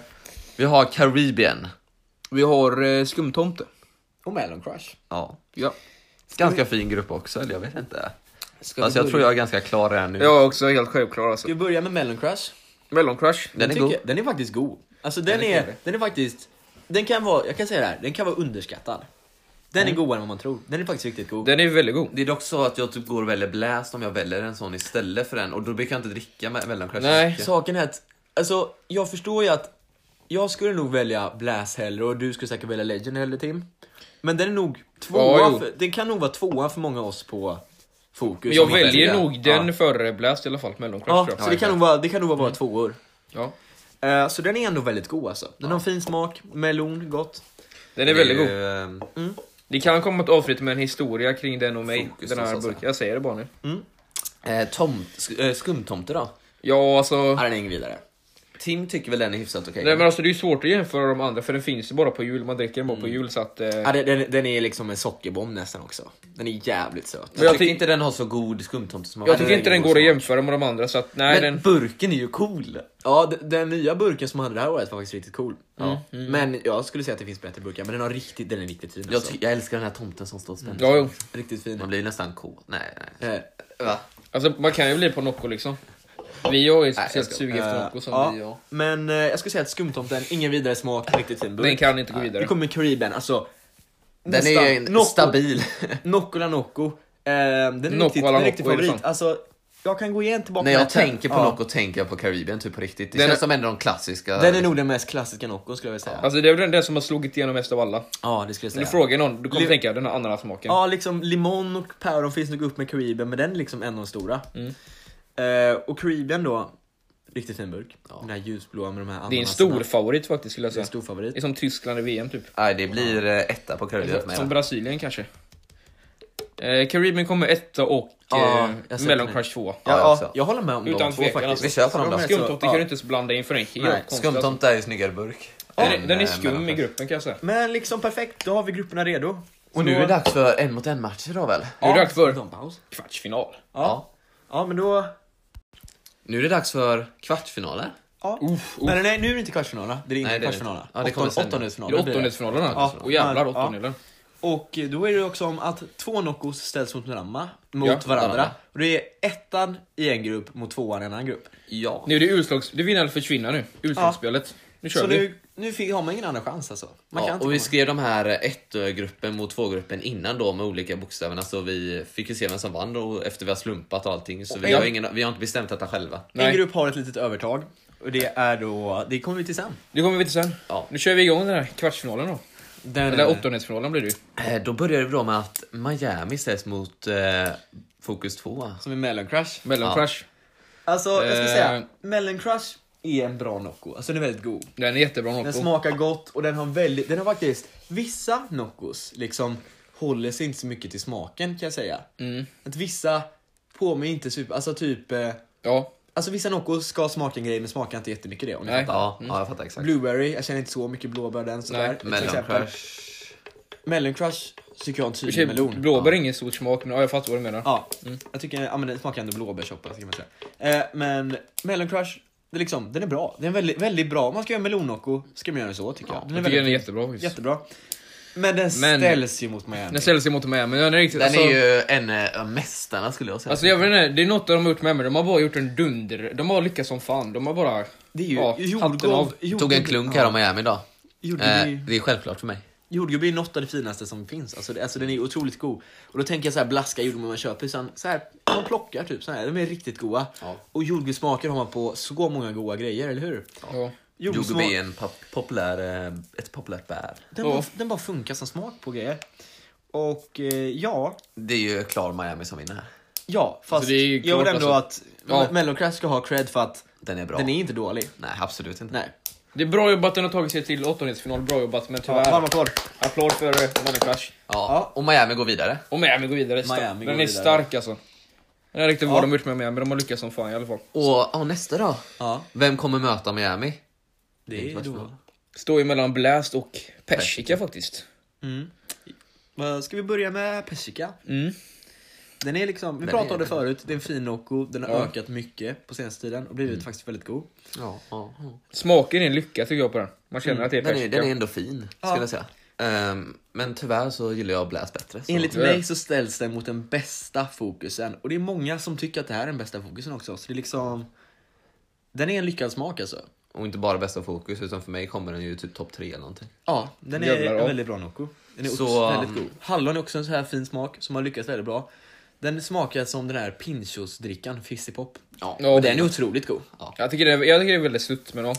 S3: Vi har Caribbean.
S1: Vi har eh, skumtomte.
S2: Och Melon Crush.
S3: Ja.
S1: Ja.
S3: Ganska fin grupp också, eller jag vet inte.
S2: Ska
S3: Alltså
S2: vi
S3: jag
S2: börja-
S3: tror jag är ganska klar redan nu.
S1: Jag är också helt självklar alltså.
S2: Ska vi börja med Melon Crush?
S1: Melon Crush.
S3: Den är
S2: tycker-
S3: god.
S2: Den är faktiskt god. Alltså den,
S1: Den är
S2: är,
S1: trevlig.
S2: den är faktiskt, den kan vara, jag kan säga det här, den kan vara underskattad. Den är godare än vad man tror. Den är faktiskt riktigt god.
S1: Den är väldigt god.
S3: Det är dock så att jag typ går och väljer Blast om jag väljer en sån istället för en och då brukar jag inte dricka me- Melloncrush.
S1: Nej.
S3: så mycket.
S2: Saken är att, alltså jag förstår ju att jag skulle nog välja Blast hellre och du skulle säkert välja Legend hellre Tim. Men den är nog tvåa,
S1: Ja, jo.
S2: för, den kan nog vara tvåa för många av oss på Fokus.
S1: Men jag
S2: om man
S1: väljer
S3: väljer.
S1: nog den
S3: Ja. Mm.
S1: före Blast i alla fall. Melon Crush
S2: Ja,
S1: tror
S2: så
S1: jag.
S2: det kan nog vara, det kan nog vara våra tvåor.
S1: Ja.
S2: Eh, så den är ändå väldigt god alltså. Den har en fin smak, melon, gott.
S1: Den är väldigt god.
S3: ju, eh,
S1: Det kan komma ett avsnitt med en historia kring den och mig.
S3: Fokus
S1: Den
S3: hos
S1: här
S3: oss,
S1: burken. Jag säger det bara nu.
S3: Eh, tomt, sk- eh, skumtomte då?
S1: Ja, alltså.
S2: Ja, den är ingen vidare.
S3: Tim tycker väl den är hyfsat okej?
S1: Nej men alltså det är ju svårt att jämföra de andra för den finns ju bara på jul. Man dricker den bara på jul så att... Eh,
S2: Ja, den, den, den är liksom en sockerbomb nästan också. Den är jävligt söt.
S3: jag,
S1: jag
S3: tycker
S1: tyck-
S3: inte den har så god skumtomte som
S1: jag tycker inte den går att
S3: igen.
S1: jämföra med de andra så att nej
S3: Men
S1: den...
S3: burken är ju cool!
S2: Ja, d- den nya burken som man hade det här året var faktiskt riktigt cool.
S3: Mm,
S2: Ja. Men jag skulle säga att det finns bättre burkar, men den, har riktigt, den är riktigt fin.
S3: Jag,
S2: Alltså.
S3: ty- Mm. jag älskar den här tomten som står och spänner.
S1: Ja, jo.
S2: Riktigt fin.
S3: Man blir nästan cool. Nej, nej.
S2: Eh,
S3: Va?
S1: Alltså man kan ju bli på Nocco liksom. Vi har ju ett
S3: Nej, jag
S1: speciellt
S3: ska-
S1: sug efter
S2: eh,
S1: Nocco som
S2: ja,
S1: vi har.
S2: Men eh, jag skulle säga att skumtomten, ingen vidare smak, riktigt fin burk.
S1: Den kan inte gå
S2: Nu
S1: vidare.
S2: kommer Caribbean, alltså.
S3: Den är en stabil.
S2: <laughs> Nocco la Nocco. Eh, den är
S1: Nocco
S2: riktigt,
S1: alla
S2: en riktig
S1: Nocco är det
S2: favorit.
S1: fan.
S2: Alltså, jag kan gå igen tillbaka
S3: När
S2: till
S3: jag
S2: den.
S3: tänker på
S2: Ja.
S3: Nocco tänker jag på Karibien typ på riktigt. Det
S1: Den
S3: känns
S1: är-
S3: som en av de klassiska.
S5: Den är nog den mest klassiska Nocco skulle jag vilja säga.
S1: Alltså det är väl den- den som har slogit igenom mest av alla.
S5: Ja, det skulle jag
S1: När du
S5: säga.
S1: frågar någon, du kommer
S2: Liv-
S1: tänka den här ananassmaken.
S2: Ja, liksom limon och päron finns nog upp med Caribbean, men den är liksom en av de stora.
S1: Mm.
S2: Eh, och Caribbean då, riktigt fin burk. Den här ljusblåa med de
S1: Det
S2: här
S1: är en
S2: ananaserna.
S1: stor favorit faktiskt skulle jag
S2: Det är
S1: säga.
S2: en stor
S1: Det är
S2: favorit.
S1: som Tyskland i VM typ.
S3: Nej, det blir eh, etta på Karibien för
S1: Eller,
S3: mig.
S1: som Brasilien kanske. Eh, Karibien kommer etta och
S5: Ja,
S1: eh,
S5: jag ser
S1: Melon
S5: det.
S1: Crush 2.
S3: Ja,
S2: Ja,
S3: också.
S2: ja, jag håller med om
S1: Utan
S2: de två
S1: tvekan,
S2: faktiskt.
S1: alltså.
S3: Vi kör på dem då.
S2: De är så-
S1: Skumtomte
S2: ja.
S1: kan du inte blanda in för den är
S2: Nej,
S1: helt konstig, alltså.
S3: Skumtomte är ju snyggare burk.
S1: Den, är- den är
S3: eh,
S1: skum i
S3: mellanchans.
S1: gruppen kan jag säga.
S2: Men liksom perfekt, då har vi grupperna redo.
S1: liksom.
S3: Och nu
S2: Så-
S3: är det dags för en mot en matcher då väl?
S1: Nu är det dags för
S5: De paus.
S1: kvartsfinal.
S2: Ja. Ja, men då...
S3: Nu är det dags för kvartsfinaler.
S2: Ja.
S1: Uff, uff.
S5: Nej, nej, nej, nu är det inte kvartsfinalerna. Det är
S3: Nej,
S5: inte
S3: det är det
S5: kvartsfinalerna.
S3: inte. Ja, det kommer sen.
S1: Det är
S5: Åttondelsfinalerna blir det.
S1: åttondelsfinalerna.
S2: Ja,
S1: alltså. Och jävlar
S2: ja.
S1: åttondelen.
S2: Och då är det också om att två Noccos ställs mot varandra. Mot
S1: Ja,
S2: varandra.
S3: varandra.
S2: Och det är ettan i en grupp mot tvåan i en annan grupp.
S3: Ja.
S1: Nu är det utslags... Det vinner eller försvinna nu. Utslagsspelet. Nu kör
S2: Så
S1: vi.
S2: nu, nu fick- har man ingen annan chans alltså. Man kan
S3: Ja,
S2: inte
S3: och vi
S2: komma-
S3: skrev de här ett-gruppen mot två-gruppen innan då med olika bokstäverna så vi fick ju se vem som vann då efter vi har slumpat och allting så vi
S1: ja.
S3: har, ingen, vi har inte bestämt detta själva.
S1: Nej.
S2: En grupp har ett litet övertag. Och det är då, det kommer vi till sen.
S1: Det kommer vi till sen.
S3: Ja. Mm.
S1: Nu kör vi igång den här kvartsfinalen då.
S2: Den,
S1: Eller åttondelsfinalen blir det ju.
S3: Eh, Då började vi då med att Miami ställs mot eh, Fokus 2.
S5: Som i Melon Crush.
S1: Melon
S3: Ja.
S1: Crush.
S2: Alltså jag ska
S1: Eh.
S2: säga, Melon Crush är en bra Nocco. Alltså den är väldigt god.
S1: Den är jättebra
S2: Den
S1: Nocco.
S2: smakar gott och den har väldigt, den har faktiskt, vissa Noccos liksom håller sig inte så mycket till smaken kan jag säga.
S1: Mm.
S2: Att vissa påminner inte super, alltså typ, eh,
S1: Ja.
S2: alltså vissa Noccos ska smaka en grej men smakar inte jättemycket det om ni
S1: Nej.
S2: fattar.
S3: Ja, ja, jag fattar exakt.
S2: Blueberry, jag känner inte så mycket blåbär den sådär.
S1: Nej,
S2: Till
S3: Melon
S2: exempel.
S3: Crush.
S2: Melon Crush tycker jag har
S1: I
S2: en
S1: och
S2: tydlig
S1: för sig, Mm.
S2: melon.
S1: Blåbär är ingen stor smak men ja, jag fattar vad du menar.
S2: Ja, jag tycker ja, men den smakar ändå blåbärssoppa. ska man säga. Eh, men Melon Crush, det är liksom, den är bra. Den är väldigt, väldigt bra. Om man ska göra melonnocco ska man göra den så tycker jag. Den är
S1: jag tycker den är
S2: väldigt,
S1: jättebra faktiskt.
S2: jättebra. Men den
S1: Men-
S2: ställs ju mot Miami.
S1: Den säljs emot Miami. men Den är riktigt...
S3: Den
S1: alltså,
S3: är ju en eh, av mästarna skulle jag säga.
S1: Alltså jag vet inte, det är något de har gjort med mig. De har bara gjort en dunder. De har lyckats som fan. De har bara...
S2: Det är ju
S1: ja, hatten av.
S2: jordgubb, jordgubb,
S3: Tog en klunk här av Miami idag. Eh,
S2: Jordgubb,
S3: det är självklart för mig.
S2: jordgubb är något av det finaste som finns. Alltså, det, alltså den är otroligt god. Och då tänker jag så här blaska jordgubb man köper. Sen, så här, man plockar typ så här. De är riktigt goda. Och jordgubbssmaker har man på så många goda grejer, eller hur?
S1: Ja.
S3: Jordgubb
S2: Jordgubbssmak-
S3: är en pop- populär, eh, ett populärt bär.
S2: Den,
S1: Ja.
S2: bara, den bara funkar som smak på grejer. Och eh, ja,
S3: Det är ju klar Miami som vinner här.
S2: ja, fast
S1: det är ju
S2: jag
S1: klart,
S2: vill ändå
S1: alltså.
S2: att
S1: Ja.
S2: ja. Melon Crush ska ha cred för att
S3: Den är bra.
S2: den är inte dålig.
S3: Nej, absolut inte.
S2: Nej.
S1: Det är bra jobbat att den har tagit sig till åttondelsfinal. Bra jobbat men tyvärr.
S2: Ja, varm applåd.
S1: Applåd för eh, Money Crush.
S3: Ja.
S2: Ja.
S3: Och Miami går vidare.
S1: Och Miami går vidare. Sta-
S2: Miami går
S1: den är
S2: vidare.
S1: stark alltså. Jag vet inte vad de har gjort med Miami, men de har lyckats som fan i alla fall.
S3: Och ja, nästa då?
S2: Ja,
S3: Vem kommer möta Miami?
S2: det är
S3: inte
S2: då.
S1: Står ju mellan Blast och Persika faktiskt.
S2: Mm. Vad Ska vi börja med persika?
S1: Mm.
S2: Den är liksom, vi
S3: Den
S2: pratade
S3: är-
S2: om det förut, det är en fin Nocco, den har
S1: Ja.
S2: ökat mycket på senaste tiden och blivit
S3: Mm.
S2: faktiskt väldigt god.
S3: Ja, ja, ja.
S1: Smaken är en lycka tycker jag på den. Man
S2: Mm.
S1: känner att det är
S3: Den, är,
S1: persika.
S3: den är ändå fin, skulle jag säga. Ehm, men tyvärr så gillar jag Blast bättre. Så.
S2: Enligt
S1: Ja.
S2: mig så ställs den mot den bästa fokusen och det är många som tycker att det här är den bästa fokusen också. Så det är liksom, den är en lyckad smak alltså.
S3: Och inte bara bästa fokus, utan för mig kommer den ju typ topp tre eller någonting.
S2: Ja, den är
S1: Jävlar, ja.
S2: en väldigt bra Nocco. Den är
S3: Så,
S2: också väldigt
S3: um,
S2: god. Hallon är också en så här fin smak som har lyckats väldigt bra. Den smakar som den här pinchos-drickan, Fizzypop.
S3: Ja.
S1: Ja.
S2: Och den är otroligt god.
S1: Jag tycker det är, jag tycker det är väldigt sutt men ja.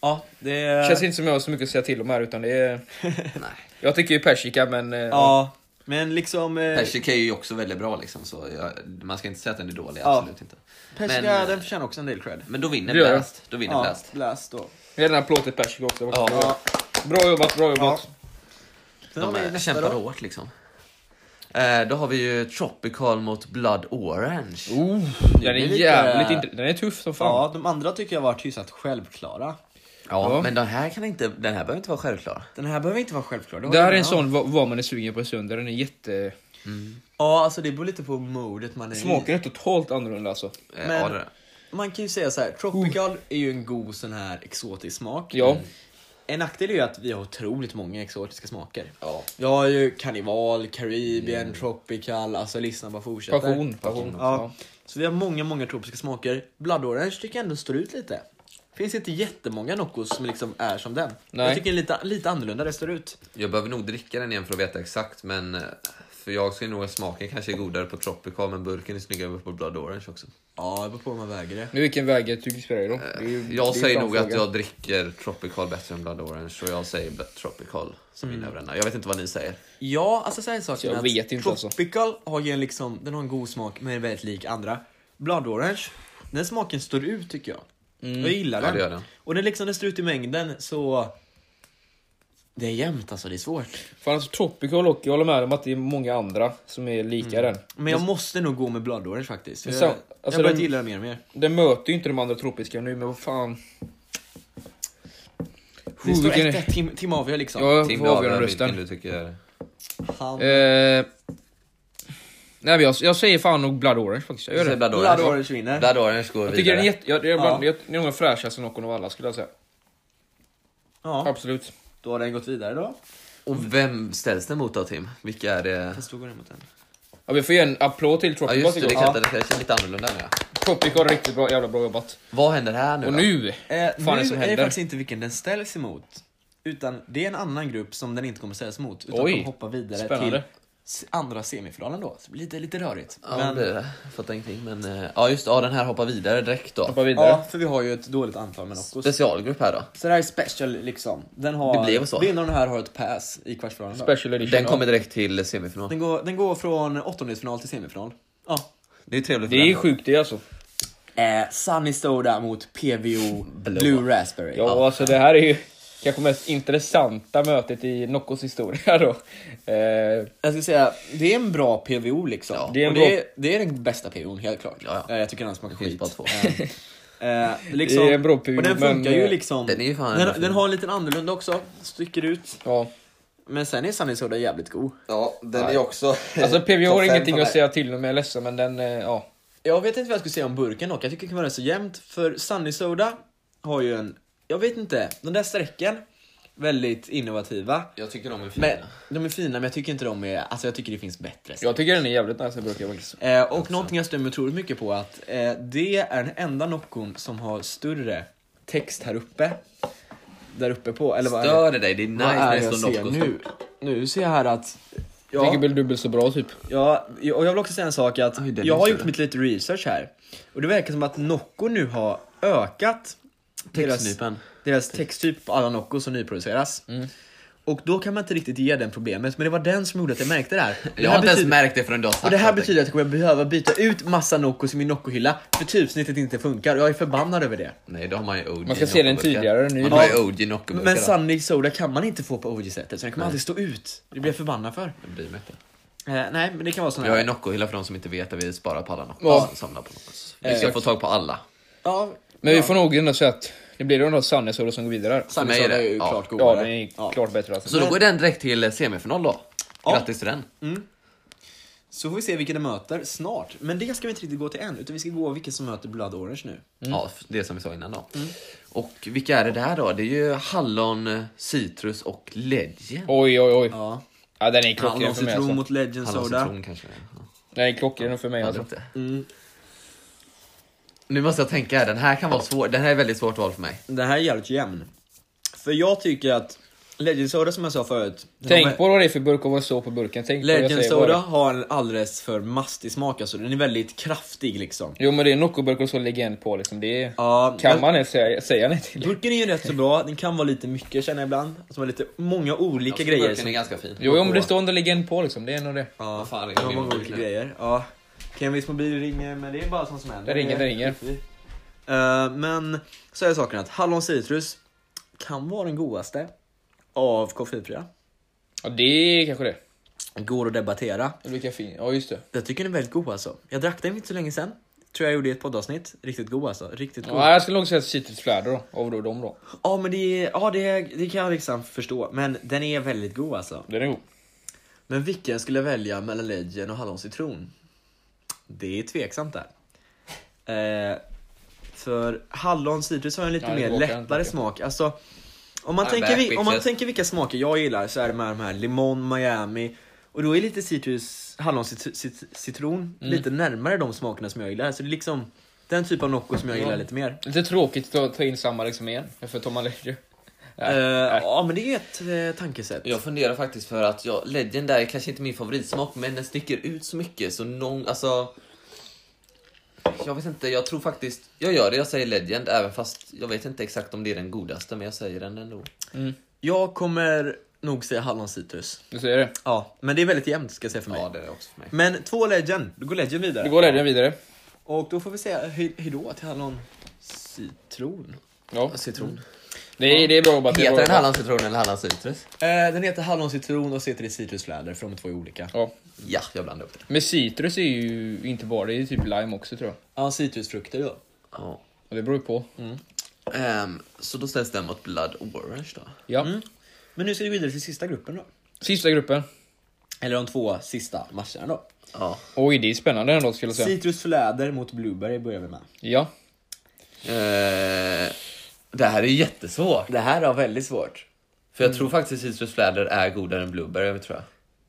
S2: Ja, det...
S1: Känns inte som jag har så mycket att säga till om här utan det
S2: <laughs>
S1: är...
S3: Nej.
S1: Jag tycker ju persika men... eh,
S2: Ja, men liksom... eh,
S3: Persika är ju också väldigt bra liksom, så jag, man ska inte säga att den är dålig,
S2: Ja.
S3: absolut inte.
S2: Persika,
S3: Men-
S2: den förtjänar också en del cred.
S3: Men då vinner
S1: Det gör
S3: Blast. Då vinner
S2: Ja,
S3: Blast.
S2: blast då.
S1: Jag har den här plåtet persika också.
S3: Ja.
S1: Ja. Bra jobbat, bra jobbat.
S2: Sen har
S3: De
S2: vi
S3: är,
S2: nästa
S3: kämpar
S2: då.
S3: hårt liksom. Eh, då har vi ju Tropical mot Blood Orange.
S1: Oh, den är
S2: blir lite-
S1: jävligt intressant. Den är tuff som fan.
S2: Ja, de andra tycker jag varit hyfsat självklara.
S3: Ja,
S1: Ja.
S3: men den här, kan inte, den här behöver inte vara självklar.
S2: Den här behöver inte vara självklar. var
S1: Det här
S2: den
S1: är en
S2: här.
S1: sån vad, vad man är sugen på i söndag. Den är
S2: Mm.
S1: jätte...
S2: Ja, alltså det beror lite på modet man är i.
S1: Smaken är totalt annorlunda alltså.
S3: Eh,
S2: Men-
S3: ja, det är det.
S2: Man kan ju säga så här, tropical är ju en god sån här exotisk smak.
S1: Ja.
S2: En nackdel är ju att vi har otroligt många exotiska smaker.
S3: Ja.
S2: Vi har ju karneval, Caribbean, tropical, alltså listan bara fortsätter.
S1: Mm. Passion. Passion.
S2: Ja. Så vi har många, många tropiska smaker. Blood Orange tycker jag ändå står ut lite. Finns inte jättemånga Noccos som liksom är som den.
S1: Nej.
S2: Jag tycker lite, lite annorlunda det står ut.
S3: Jag behöver nog dricka den igen för att veta exakt, men eh, För jag skulle nog att smaken kanske är godare på Tropical men burken är snyggare på Blood Orange också.
S2: Ja, det beror på hur man väger det.
S1: Nu vilken väg tycker du spelar i då? Det är ju-
S3: Eh, Jag
S1: det är
S3: säger
S1: en
S3: nog att
S1: fråga.
S3: jag dricker Tropical bättre än Blood Orange och jag säger bet- Tropical som min överenda. Jag vet inte vad ni säger.
S2: Ja, alltså så här är
S1: Så jag
S2: saken
S1: vet inte alltså.
S2: Tropical har ju en liksom, den har en god smak men är väldigt lik andra. Blood Orange, den smaken står ut tycker jag.
S1: Mm.
S2: Jag gillar
S3: Ja,
S2: den.
S3: det gör den.
S2: Och den liksom, den står ut i mängden så... Det är jämnt alltså, det är svårt.
S1: Fan alltså Tropical och jag håller med om att det är många andra som är lika den.
S2: Men jag måste nog gå med Blood Orange faktiskt.
S1: Men
S2: Jag,
S1: så-
S2: jag
S1: alltså,
S2: börjar
S1: den-
S2: gilla den mer och mer.
S1: Den möter ju inte de andra tropiska nu men vad fan.
S2: Det står
S1: vilken-
S2: 1-1, Tim, Tim avgör liksom.
S1: Jag
S3: Tim,
S1: får
S3: du
S1: avgöra
S3: avgör vilken
S1: rösten.
S3: du tycker.
S2: Han...
S1: Eh, nej men jag, jag säger fan nog Blood Orange faktiskt. Jag
S3: Du
S1: gör
S3: säger
S1: det.
S3: Blood
S2: Blood
S3: Orange.
S2: Orange vinner.
S3: Blood Orange går
S1: Jag tycker den är
S3: vidare.
S1: jätte... Jag, jag, bland,
S2: Ja.
S1: jag, det är nog den fräschaste Noccon av alla skulle jag säga.
S2: Ja,
S1: Absolut.
S2: då har den gått vidare då.
S3: Och vem ställs den mot då Tim? Vilka är det?
S2: Fast då går den mot den.
S1: Ja, vi får ge en applåd till
S3: Ja
S1: Tropical
S3: just det, det
S1: tycker jag.
S3: kanske det kanske är lite annorlunda nu. ja.
S1: Tropical, riktigt bra, jävla bra jobbat.
S3: Vad händer här nu
S1: Och
S3: då?
S1: nu!
S2: Eh,
S1: fan
S2: nu
S1: är det som
S2: är det
S1: händer?
S2: faktiskt inte vilken den ställs emot. Utan det är en annan grupp som den inte kommer ställas emot. Utan
S1: Oj,
S2: de hoppar vidare
S1: spännande.
S2: till s- andra semifinalen då. Så det blir lite, lite rörigt.
S3: Ja,
S2: Men-
S3: det blir det. Fattar ingenting. Men, eh, ja, just det. Ja, den här hoppar vidare direkt då.
S1: Hoppa vidare.
S2: ja, för vi har ju ett dåligt antal med Noccos.
S3: Specialgrupp här då.
S2: Så det här är special liksom. Den har,
S3: Det blev så.
S2: Vinnaren här har ett pass i kvartsfinalen. då.
S1: Special edition.
S3: Den
S1: ja.
S3: kommer direkt till semifinal.
S2: Den går, den går från åttondelsfinal till semifinal. Ja.
S3: Det är trevligt för
S1: Det är
S3: den.
S1: sjukt det alltså.
S2: Eh, Sunny Soda mot PVO
S3: Blå.
S2: Blue Raspberry.
S1: Ja, alltså det här är ju kanske mest intressanta mötet i Noccos historia då. Eh,
S2: Jag skulle säga, det är en bra PVO liksom. Och
S1: det är
S2: det, är
S1: en
S2: det,
S1: bra-
S2: är, den bästa PVOn helt klart.
S3: Ja, ja.
S2: Eh, Jag tycker den smakar
S3: Det finns
S2: skit.
S3: bara två.
S2: Eh, liksom,
S1: Det är en bra PVO,
S2: och den
S1: men,
S2: funkar
S1: eh,
S2: ju liksom.
S3: den är ju fan ändå
S2: den,
S3: fin.
S2: den har en liten annorlunda också, sticker ut.
S1: ja.
S2: Men sen är Sunny Soda jävligt god.
S3: Ja, den är också...
S1: <laughs> Alltså PVO har
S3: Topp fem
S1: ingenting
S3: på
S1: att
S3: mig.
S1: säga till om, jag är ledsen men den, eh, ja.
S2: Jag vet inte vad jag skulle säga om burken dock, jag tycker det kan vara rätt så jämnt. För Sunny Soda har ju en, jag vet inte, de där strecken, väldigt innovativa.
S3: Jag tycker de är fina.
S2: Men, de är fina men jag tycker inte de är, alltså jag tycker det finns bättre.
S1: Jag tycker den är jävligt nice den burken faktiskt.
S2: Eh, och någonting jag stämmer otroligt mycket på är att eh, det är den enda Noccon som har större text här uppe. Där uppe på, eller vad är det?
S3: Stör det dig? Det är nice
S2: Vad
S3: när
S2: är
S3: det
S2: det jag
S3: står
S2: ser
S3: Nocco.
S2: nu? Nu ser jag här att...
S1: Jag tycker
S2: Ja,
S1: väl dubbelt så bra typ.
S2: ja, och jag vill också säga en sak att
S3: Oj, den
S2: jag
S3: är
S2: har
S3: större.
S2: gjort mitt lite research här. Och det verkar som att Nocco nu har ökat deras,
S3: Textnypen.
S2: deras texttyp på alla Nocco som nyproduceras. Och då kan man inte riktigt ge den problemet, men det var den som gjorde att <laughs> jag märkte det här. Det
S3: Jag har
S2: här
S3: inte ens
S2: betyder-
S3: märkt det förrän du har sagt
S2: och det här
S3: någonting.
S2: betyder att jag kommer behöva byta ut massa Noccos i min Nocco-hylla för typsnittet inte funkar och jag är förbannad över det.
S3: Nej, då har man ju OG
S1: Man ska se den
S3: Noccoburkar.
S1: tidigare, den är ju
S3: Man har ju
S1: bra.
S3: OG Noccoburkar.
S2: Men
S3: då.
S2: Sunny Soda kan man inte få på OG-sättet så den kommer aldrig stå ut. Det blir jag förbannad för.
S3: Jag bryr mig inte.
S2: Eh, nej, men det kan vara sån
S3: Vi har ju
S2: här.
S3: Nocco-hylla för de som inte vet att vi sparar på alla Nocco.
S1: Ja. Eh,
S3: Samlar på Nocco. Vi ska få tag på alla.
S2: Ja,
S1: Men vi får nog ändå säga att det blir ändå Sunny Soda som går vidare här.
S2: Sunny
S3: mig är
S2: Soda är
S3: det-
S2: ju
S3: ja.
S2: klart
S1: Ja,
S2: godare.
S1: den är klart bättre alltså.
S3: Så då går den direkt till semifinal då.
S2: Ja. Mm.
S3: Grattis till den.
S2: Så får vi se vilka de möter snart. Men det ska vi inte riktigt gå till än, utan vi ska gå vilka som möter Blood Orange nu.
S3: Ja, f- det som vi sa innan då.
S2: Mm.
S3: Och vilka är det där då? Det är ju hallon, eh, citrus och legend.
S1: Oj oj oj.
S2: Ja.
S1: Ja den är klockren
S2: Hallon
S1: för mig
S2: citron
S1: alltså.
S2: mot Legend
S3: Hallon,
S2: Soda.
S3: citron kanske. Ja,
S1: Den är klockren för mig
S3: jag vet
S1: alltså.
S3: inte.
S2: Mm.
S3: Nu måste jag tänka, här. den här kan vara svår. Den här är väldigt svårt val för mig.
S2: Den här är jävligt jämn. För jag tycker att Legend Soda som jag sa förut. den har-
S1: Tänk på vad det är för burk och vad det står på burken. Tänk på vad jag
S2: Legend
S1: säger. vad det
S2: Soda
S1: är.
S2: har en alldeles för mastig smak alltså, den är väldigt kraftig liksom.
S1: Jo men det är Noccoburk och så legend på liksom. Det är...
S2: Ja,
S1: Kan
S2: men-
S1: man ens säga, säga nej till?
S2: Burken är ju rätt så bra, den kan vara lite mycket känner jag ibland. Alltså, de har lite många olika grejer.
S3: Den är
S2: Som,
S3: ganska fin.
S1: Jo om det står ändå legend på liksom, det är nog det.
S2: ja,
S3: Vad fan,
S2: de har
S3: jag
S2: många
S3: vill
S2: olika
S3: nu.
S2: grejer. Ja. Kenvis mobil ringer men det är bara sånt som händer.
S1: Det ringer, det ringer.
S2: Eh, men så är saken att hallon citrus kan vara den godaste av koffeinfria.
S1: Ja det är kanske det.
S2: Går att debattera.
S1: Det blir kaffein. Ja just det.
S2: Jag tycker den är väldigt god alltså. Jag drack den inte så länge sedan. Tror jag gjorde i ett poddavsnitt. Riktigt god alltså. Riktigt god.
S1: Ja, jag skulle nog säga citrusfläder då, av då de då.
S2: Ja men det, är- ja, det, det kan jag liksom förstå, men den är väldigt god alltså.
S1: Den är god.
S2: Men vilken skulle jag välja mellan Legend och halloncitron? Det är tveksamt där. Eh, för hallon citrus har en lite
S1: Ja, det
S2: mer
S1: vågar jag inte
S2: lättare
S1: tycka.
S2: smak. Alltså, om man,
S3: Ja,
S2: tänker, vi, om man
S3: backpitches.
S2: tänker vilka smaker jag gillar så är det med de här limon, Miami och då är lite citrus, hallon cit- cit-
S1: Mm.
S2: citron lite närmare de smakerna som jag gillar. Så det är liksom den typ av Nocco som jag gillar lite mer.
S1: Lite tråkigt att ta in samma liksom igen, för Tom Allegro.
S2: Eh, Ja, men det är ett eh, tankesätt.
S3: Jag funderar faktiskt för att jag, Legend är kanske inte min favoritsmak, men den sticker ut så mycket så någon, alltså... Jag vet inte, jag tror faktiskt, jag gör det, jag säger Legend även fast jag vet inte exakt om det är den godaste, men jag säger den ändå.
S2: Jag kommer nog säga hallonsitrus.
S1: Du säger det.
S2: Ja, men det är väldigt jämnt ska jag säga för mig.
S3: Ja, det är det också för mig.
S2: Men två legend, då går legend vidare.
S1: Det går ledningen vidare.
S2: Och då får vi säga hej, hejdå till halloncitron.
S1: Ja.
S2: Ja, Citron.
S1: Nej, det är bra jobbat. det är bra
S3: Heter den
S1: jobbat.
S3: Hallandscitron eller Hallandscitrus?
S2: Eh, den heter halloncitron och så heter det citrusfläder för de är två olika.
S1: Ja.
S3: Ja, jag blandade upp det.
S1: Men citrus är ju inte bara det, det är typ lime också tror jag.
S2: Ja, citrusfrukter då.
S3: Ja.
S1: Och det beror ju på.
S3: Ehm, så då ställs den mot Blood Orange då.
S1: Ja.
S2: Men nu ska vi gå vidare till sista gruppen då.
S1: Sista gruppen.
S2: Eller de två sista matcherna då.
S3: Ja.
S1: Oj, det är spännande ändå skulle jag säga.
S2: Citrusfläder mot blueberry börjar vi med.
S1: Ja.
S3: Ehm, det här är jättesvårt.
S2: Det här var väldigt svårt.
S3: För jag tror faktiskt citrusfläder är godare än blueberry, tror jag.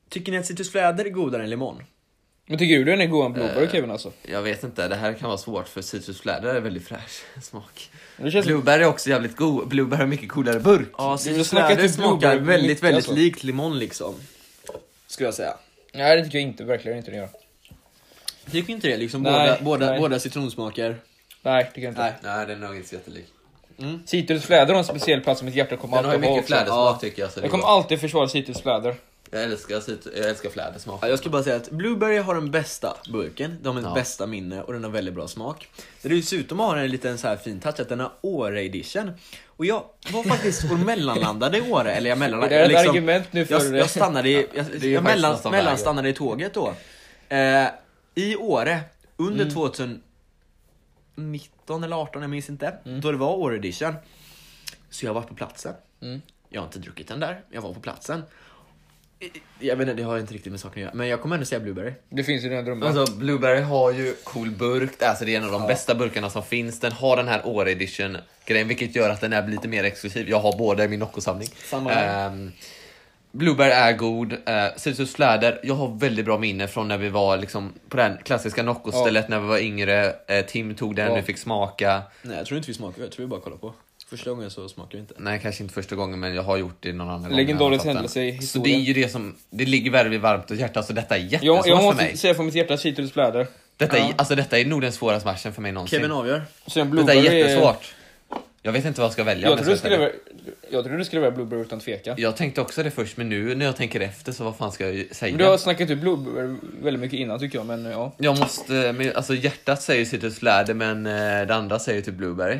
S2: Tycker ni att citrusfläder är godare än limon?
S1: Men tycker du den är god än
S3: Eh.
S1: blåbär Kevin alltså?
S3: Jag vet inte, det här kan vara svårt för citrusfläder är väldigt fräsch <laughs> smak.
S1: Det känns-
S3: Blueberry är också jävligt god, blueberry har mycket coolare burk.
S1: snacka
S2: Ja, citrusfläder
S1: till
S2: smakar typ
S1: blueberry
S2: väldigt,
S1: mycket,
S2: väldigt
S1: alltså.
S2: likt limon liksom. Skulle jag säga.
S1: Nej, det tycker jag inte. Verkligen inte den gör.
S2: Tycker inte det? Liksom
S1: Nej,
S2: båda, båda,
S1: nej.
S2: båda citronsmaker.
S1: Nej, det tycker jag inte.
S2: Nej.
S3: Nej, den är nog inte så jättelik.
S1: Citrusfläder har en speciell plats som mitt hjärta kommer
S3: Den har ju
S1: alltid ha
S3: mycket
S1: också.
S3: flädersmak
S2: Ja.
S3: tycker jag. Så det
S1: Jag
S3: är
S1: kommer
S3: gott.
S1: alltid försvara citrusfläder.
S3: jag, älskar cit- jag älskar flädersmak.
S2: Ja, Jag skulle bara säga att Blueberry har den bästa burken, de har den
S3: Ja.
S2: bästa minne och den har väldigt bra smak. Den Dessutom har den en liten så här fin touch, att den har Åre-edition. Och jag var faktiskt och mellanlandade i Åre, eller jag
S1: Det är
S2: mellanlandade. liksom-
S1: ett argument nu för
S2: jag,
S1: det.
S2: jag stannade i, jag,
S3: det är ju
S2: jag
S3: faktiskt
S2: mellan,
S3: nästan värre.
S2: mellanstannade i tåget då. Eh, I Åre, under 2019 eller 18, jag minns inte, då det var Åre-edition. Så jag var på platsen. Jag har inte druckit den där, jag var på platsen. Jag vet inte, det har inte riktigt med saken att göra. Men jag kommer ändå säga blueberry.
S1: Det finns i dina drömmar.
S3: Alltså, blueberry har ju cool burk, alltså det är en av de bästa burkarna som finns. Den har den här Åre edition grejen vilket gör att den är lite mer exklusiv. Jag har båda i min Nocco-samling.
S2: Samma här.
S3: Ehm, Blueberry är god, eh, citrusfläder, jag har väldigt bra minne från när vi var liksom, på det här klassiska Nocco-stället när vi var yngre. Eh, Tim tog den,
S1: Ja.
S3: vi fick smaka.
S2: Nej, jag tror inte vi smakar, jag tror vi bara kollar på. Första gången så smakar vi inte.
S3: Nej, kanske inte första gången, men jag har gjort det någon annan gång.
S1: Legendarisk
S3: när jag har fått
S1: händelse i
S3: den. Så det är
S1: historien.
S3: ju det som, det ligger väldigt varmt och hjärtat, så detta är jättesvårt
S1: Jag, jag
S3: för mig.
S1: måste säga från mitt hjärta citrusfläder.
S3: Detta, är, alltså, detta är nog den svåraste matchen för mig någonsin.
S2: Kevin avgör.
S1: Sen
S3: Detta
S1: blueberry
S3: är jättesvårt. Jag vet inte vad jag ska välja.
S1: Jag
S3: om jag
S1: trodde du
S3: ska
S1: skulle,
S3: välja.
S1: välja- jag trodde du skulle välja blueberry utan tvekan.
S3: Jag tänkte också det först, men nu när jag tänker efter så vad fan ska jag ju säga?
S1: Men du har snackat ut blueberry väldigt mycket innan tycker jag, men ja.
S3: Jag måste, men, alltså hjärtat säger citrusfläder men eh, det andra säger typ blueberry.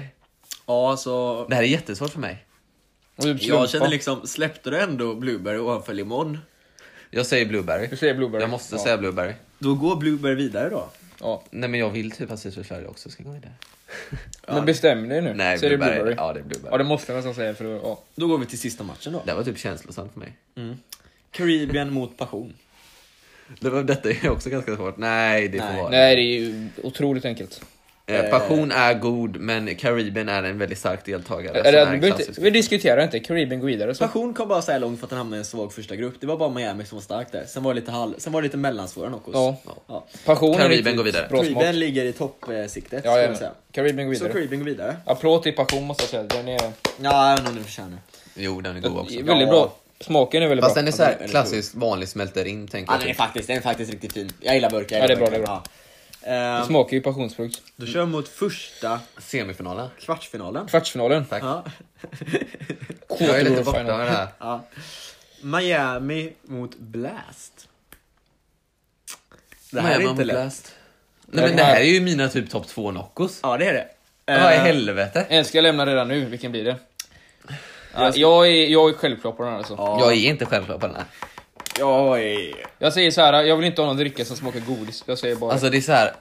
S2: Ja, så...
S3: Det här är jättesvårt för mig.
S1: Och typ
S2: Jag
S1: slumpa.
S2: känner liksom, släppte du ändå blueberry ovanför limon?
S3: Jag säger blueberry.
S1: Du säger blueberry.
S3: Jag måste
S1: ja.
S3: säga blueberry.
S2: Då går blueberry vidare då.
S1: Ja.
S3: Nej men jag vill typ att citrusfläder också ska gå vidare.
S1: Men bestäm dig nu.
S3: Nej,
S1: Säger du
S3: blueberry.
S1: blueberry?
S3: Ja, det är blueberry.
S1: Ja, det måste jag nästan säga för det- ja.
S2: Då går vi till sista matchen då.
S3: Det här var typ känslosamt för mig.
S2: Caribbean mot passion.
S3: Det var, detta är också ganska svårt. Nej, det
S2: Nej.
S3: får vara.
S1: Nej, det är ju otroligt enkelt.
S3: Eh, passion är god men Karibien är en väldigt stark deltagare.
S1: Är
S3: som
S1: det,
S3: är
S1: vi,
S3: en
S1: behöver inte,
S3: klassisk-
S1: vi diskuterar inte, Caribbean går vidare. Så.
S2: Passion kom bara så här långt för att den hamnade i en svag första grupp. Det var bara Miami som var stark där. Sen var det lite, halv... Sen var det lite mellansvåra Nocos.
S1: Ja.
S2: Ja.
S1: Passion är
S3: Caribbean
S1: riktigt
S3: går vidare.
S1: Bra smak.
S2: Caribbean ligger i toppsiktet,
S1: Ja,
S2: skulle
S1: ja,
S2: jag säga.
S1: Caribbean går
S2: Så
S1: vidare.
S2: Caribbean går vidare.
S1: Applåd till passion måste jag säga. Den är
S2: Ja, jag undrar om du förtjänar.
S3: Jo, den är god också.
S1: väldigt bra. Smaken är väldigt
S3: Fast
S1: bra.
S3: den är så här klassisk vanlig smälter in tänker
S2: Ja,
S3: jag.
S2: den är
S3: typ.
S2: faktiskt, den är faktiskt riktigt fin. Jag gillar burkar.
S1: Ja, det är bra,
S2: jag gillar burkar.
S1: Det
S2: Ja. Ehm,
S1: smakar ju passionsfrukt.
S2: Då kör vi mot första
S3: Semifinalen.
S2: kvartsfinalen.
S1: Kvartsfinalen.
S2: Ja.
S3: Jag är lite
S1: Quarter
S3: borta
S1: final.
S3: med det här.
S2: ja. <laughs> Miami mot Blast. Det här är inte lätt.
S3: Blast. Nej men det här är ju mina typ topp 2 Noccos.
S2: Ja, det är det.
S1: Eh.
S3: Vad i
S2: Ehm,
S3: helvete?
S1: En ska jag lämna redan nu, vilken blir det? Ja, jag, är, jag är självklar på den här alltså.
S3: Jag är inte självklar på den här.
S2: Oj.
S1: Jag säger så här, jag vill inte ha någon dricka som smakar godis. Jag säger bara...
S3: Alltså det är så här,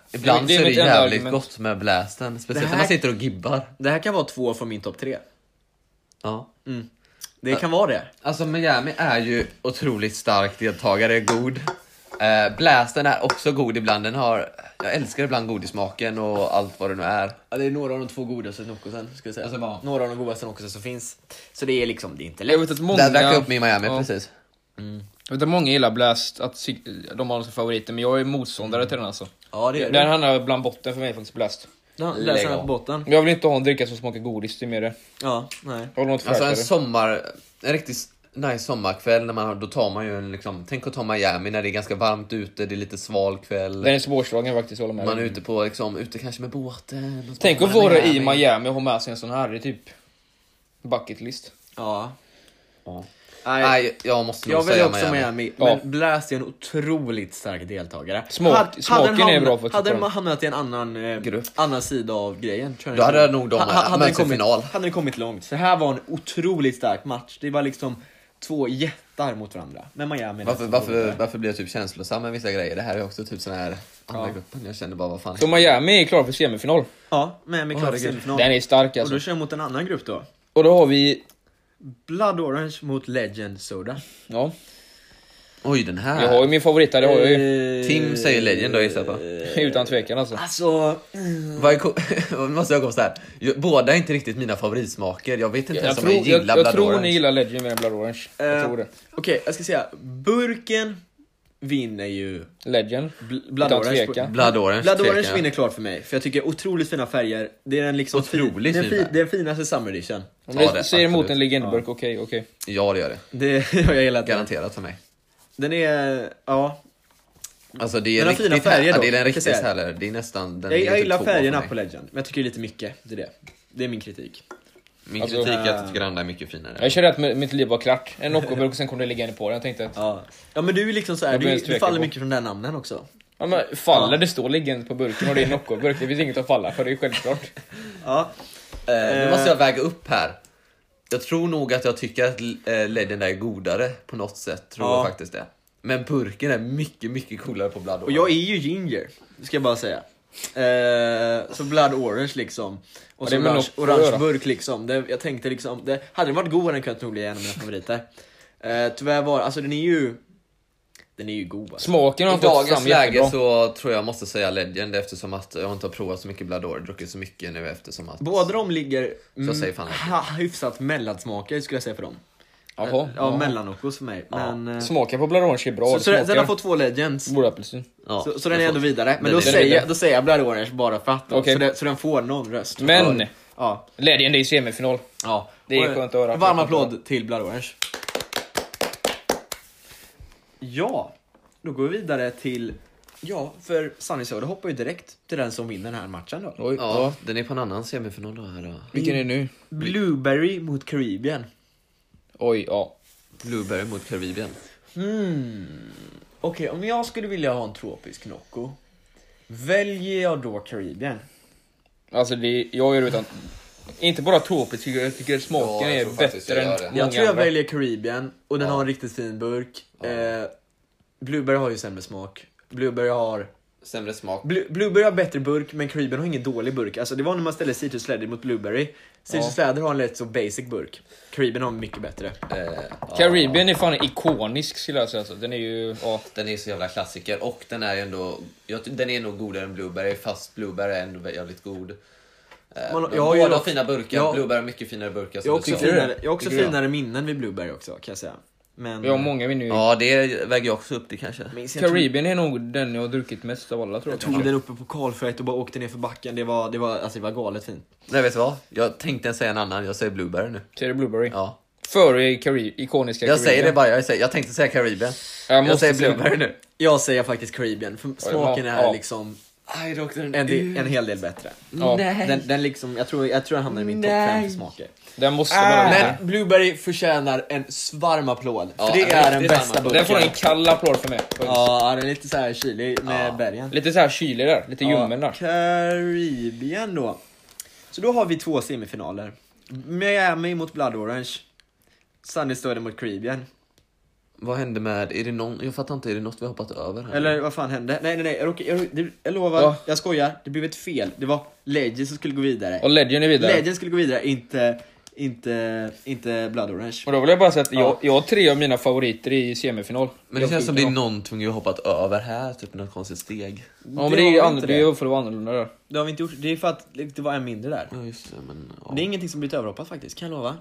S1: Det-
S3: ibland
S1: det är
S3: så är det
S1: mitt enda
S3: jävligt
S1: argument.
S3: gott med blasten. Speciellt
S2: Det här-
S3: när man sitter och gibbar.
S2: Det här kan vara två från min topp tre.
S3: Ja.
S2: Det kan vara det.
S3: Alltså Miami är ju otroligt stark deltagare, god. Eh, blasten är också god ibland. Den har, jag älskar ibland godissmaken och allt vad det nu är.
S2: Ja, det är några av de två godaste Noccosen, ska jag säga.
S3: Alltså, bara-
S2: Några av de godaste Noccosen som finns. Så det är liksom, det är inte
S1: jag
S2: lätt.
S1: vet att många...
S3: Den drack jag upp med i Miami
S1: Ja.
S3: precis.
S1: Jag vet att många gillar Blast, att sig-
S3: Mm.
S1: de har dem som favoriter, men jag är motståndare till den alltså.
S2: Ja, det är
S1: Den
S2: det.
S1: hamnar bland botten för mig faktiskt, Blast.
S2: Ja,
S3: Lägg
S2: läser den
S3: av.
S2: på botten.
S1: Jag vill inte ha en dricka som smakar godis, det är mer det.
S2: Ja, nej.
S1: Jag håller inte för
S3: Alltså en
S1: det.
S3: sommar, en riktigt nice sommarkväll när man har, då tar man ju en liksom, tänk att ta Miami när det är ganska varmt ute, det är lite sval kväll.
S1: Den är svårslagen faktiskt, jag håller med
S3: Man är
S1: dig.
S3: ute på, liksom, ute kanske med båten. och så
S1: Tänk
S3: bara,
S1: att
S3: man
S1: vara i Miami och ha med sig en sån här, det är typ bucket list.
S2: Ja.
S3: Ja.
S2: Nej,
S3: Nej, jag måste nog
S2: jag vill
S3: säga
S2: också Miami, men
S1: Ja.
S2: Blas är en otroligt stark deltagare.
S1: Smak- smaken är bra för att
S2: Hade
S1: titta på.
S2: man hamnat i en annan, eh,
S3: Grupp.
S2: annan sida av grejen tror jag
S3: Då
S2: inte.
S3: hade nog de
S2: Ha- ha- hade
S3: mötts i
S2: den kommit,
S3: final.
S2: Hade den kommit långt. Så här var en otroligt stark match. Det var liksom två jättar mot varandra. Men Miami...
S3: Varför,
S2: nästan
S3: varför,
S2: gjorde det.
S3: varför blir jag typ känslosam med vissa grejer? Det här är också typ sån här andra gruppen. Jag känner bara vad fan.
S1: Så Miami är klar för semifinal.
S2: Ja, Miami klarade
S3: herregud.
S2: semifinal.
S1: Den är stark
S2: Och
S1: alltså.
S2: då kör jag mot en annan grupp då.
S1: Och då har vi...
S2: Blood Orange mot Legend Soda.
S1: Ja,
S3: Oj, den här.
S1: jag har ju min favorit där, det har jag ju.
S2: Eh,
S3: Tim säger Legend då gissar jag på.
S1: Utan tvekan alltså.
S2: Alltså...
S3: Vad är ko- <laughs> Nu måste jag komma så här. Jag- Båda är inte riktigt mina favoritsmaker. Jag vet inte
S1: Jag
S3: ens om jag
S1: tror, jag,
S3: gillar
S1: jag
S3: Blood
S1: tror
S3: Orange.
S1: ni gillar Legend med Blood Orange. Jag
S2: Eh,
S1: tror det.
S2: Okej, jag ska säga burken vinner ju
S1: Legend.
S2: Bl- Blood
S1: Utan
S2: Orange.
S1: tvekan.
S3: Blood Orange,
S2: Blood
S3: tvekar
S2: Orange
S3: jag.
S2: vinner klart för mig, för jag tycker otroligt fina färger. Det är den liksom
S3: Otroligt
S2: den,
S3: fina.
S2: fi- den finaste summer edition.
S1: Om
S3: Ja, det
S1: ni
S3: är
S1: säger emot
S3: absolut.
S1: en legendburk, okej, okej.
S3: Ja, det gör det.
S2: Det, <laughs> jag gillar den.
S3: Garanterat för mig.
S1: Mm.
S2: Den är, ja.
S3: Alltså det är
S2: Men de fina
S3: riktigt
S2: färger
S3: här,
S2: då,
S3: det är den
S2: jag kan
S3: riktigt
S2: säga.
S3: härlig. Det är nästan den
S2: Jag,
S3: ligger
S2: jag
S3: typ
S2: gillar
S3: tvåa för
S2: färgerna
S3: mig.
S2: på Legend, men jag tycker det är lite mycket. Det är det. Det är min kritik.
S3: Min
S1: Alltså,
S3: kritik är att jag
S2: äh,
S3: tycker andra är mycket finare.
S1: Jag kände att mi- mitt liv var klart. En Noccoburk och sen kom det Legend på den. Jag tänkte att...
S2: Ja, ja men du är liksom så här,
S1: Jag blir
S2: du,
S1: ens
S2: du
S1: tveksam
S2: faller
S1: på.
S2: mycket från den namnen också.
S1: Ja, men faller det står Legend på burken och det är en Noccoburk, det finns inget att falla för, det är självklart.
S2: Ja.
S3: Eh, nu
S2: Eh.
S3: måste jag väga upp här. Jag tror nog att jag tycker att eh, Legend är godare på något sätt. Tror
S2: Ja.
S3: jag faktiskt det. Men burken är mycket, mycket coolare på Blood
S2: Och jag är ju ginger, ska jag bara säga. Eh, så blood orange liksom. Och
S1: det
S2: så
S1: är väl
S2: orange,
S1: något att
S2: orange
S1: göra.
S2: burk liksom. Det, jag tänkte liksom, det, hade den varit god hade den kunnat nog bli en av mina favoriter. Eh, tyvärr var, alltså den är ju, den är ju god alltså.
S1: Smaken har
S3: I
S1: han fått
S3: dagens
S1: fram
S3: läge
S1: jättebra.
S3: så tror jag måste säga Legend eftersom att jag inte har provat så mycket Blood Orange, druckit så mycket nu eftersom att...
S2: Båda de ligger mm,
S3: säger fan verkligen.
S2: ha, hyfsat mellansmaker skulle jag säga för dem.
S1: Jaha,
S2: Ja,
S1: jaha.
S2: mellanokos för mig. Men, eh, så
S1: Smaken på Blood Orange är bra,
S2: så,
S1: det
S2: den- den har
S1: smakar.
S2: fått två legends.
S1: Vårapelsin.
S3: Ja,
S2: så, så den
S3: jag
S2: är
S3: får-
S2: ändå vidare. Men
S3: Den
S2: då
S3: är
S2: säger,
S1: vidare.
S2: jag, då säger jag blood orange bara för att. då.
S1: Okej.
S2: Så, den, så den får någon röst.
S1: Men!
S2: Ja. Ja.
S1: Legend är i semifinal.
S2: Ja,
S1: Det är
S2: och,
S1: skönt att höra.
S2: en Varm applåd till Blood Orange. Ja, då går vi vidare till... Ja, för Sunny Soda hoppar ju direkt till den som vinner den här matchen då.
S1: Oj, ja.
S3: Ja, den är på en annan semifinal då här då.
S1: Vilken
S2: Mm.
S1: är nu?
S2: Blueberry mot Caribbean.
S1: Oj, ja.
S3: Blueberry mot Karibien.
S2: Hmm. Okej, om jag skulle vilja ha en tropisk Nocco, väljer jag då Caribbean?
S1: Alltså det, jag gör utan... Inte bara tropiskt, jag tycker- jag tycker
S3: Ja,
S1: smaken
S3: jag
S1: är
S3: tror faktiskt
S1: bättre
S3: jag
S1: än
S3: gör det.
S1: många
S2: jag tror jag
S1: andra.
S2: väljer Caribbean och den har en riktigt fin burk. Eh, Blueberry har ju sämre smak. Blueberry har
S3: Sämre smak.
S2: Blu- Blueberry har bättre burk, men Caribbean har ingen dålig burk. Alltså det var när man ställde Citrus Läder mot Blueberry. Citrus Läder har en lätt så basic burk. Caribbean har en mycket bättre.
S3: Eh, ja.
S1: Caribbean är fan ikonisk skulle jag säga. Alltså. Den är ju... Ja.
S3: Den är så jävla klassiker och den är ju ändå, jag, ty- den är nog godare än Blueberry fast Blueberry är ändå väldigt god. Eh,
S2: Man-
S3: men
S2: jag har ju
S3: båda har
S2: dock-
S3: fina burkar,
S2: jag-
S3: Blueberry har mycket finare burkar. som
S2: Jag har
S3: du
S2: också
S3: sa.
S2: finare, jag har också
S1: Tycker du?
S2: finare minnen vid Blueberry också kan jag säga. Men... eh,
S1: Vi har många vi nu.
S3: Mm. Ja, det väger jag också upp det kanske.
S2: minns jag tog,
S1: Caribbean är nog den jag har druckit mest av alla tror jag.
S2: jag tog den uppe på Karlfält och bara åkte ner för backen. Det var, det var, alltså, det var galet fint.
S3: Nej, vet du vad? Jag tänkte säga en annan, jag säger Blueberry nu.
S1: Cherry Blueberry.
S3: Ja.
S1: Före Cari- ikoniska
S3: Jag säger det
S1: Caribbean.
S3: bara, jag, säger, jag tänkte säga Caribbean.
S1: Jag
S3: Jag,
S1: måste
S3: säger
S1: säga-
S3: Blueberry nu.
S2: Jag säger faktiskt Caribbean, för smaken
S1: ja,
S2: är
S1: ja.
S2: liksom
S3: Aj, då åkte den
S2: en, del,
S3: ur.
S2: en hel del bättre.
S1: Ja.
S2: Den, den liksom, jag tror, jag tror den hamnar i min topp
S3: Nej.
S2: 5 smaker.
S1: Den måste
S3: Ah.
S1: man ha.
S2: Men Blueberry förtjänar en varm applåd.
S3: Ja,
S2: för det
S3: en
S2: är den
S3: riktigt
S2: bästa
S3: varm applåd.
S2: burken.
S1: Den får en kall applåd för mig. faktiskt.
S2: Ja, den är lite så här kylig med bergen.
S1: Lite så här kylig där, lite ljummen
S2: Ja,
S1: där.
S2: Caribbean då. Så då har vi två semifinaler. Miami mot Blood Orange. Sunny Stöder mot Caribbean.
S3: Vad hände med, är det någon, jag fattar inte, är det något vi har hoppat över här?
S2: Eller vad fan hände? Nej, nej, nej. Jag, råkar- jag, det- jag lovar,
S1: Ja.
S2: jag skojar. Det blev ett fel. Det var Legend som skulle gå vidare.
S1: Och Legend är vidare.
S2: Legend skulle gå vidare, inte, inte, inte Blood Orange.
S1: Och då vill jag bara säga att jag, jag har tre av mina favoriter i semifinal.
S3: Men det
S1: Jag
S3: känns som det
S1: tycker
S3: är någonting vi har hoppat över här, typ något konstigt steg.
S1: jag. Ja men det är ju
S2: var
S1: annorlunda,
S2: inte
S1: det är
S2: det.
S1: ju för att vara annorlunda där.
S2: det har vi inte gjort. Det är för att det var en mindre där.
S3: Ja, just det, men... Ja,
S2: Det är ingenting som blivit överhoppat faktiskt, kan jag lova.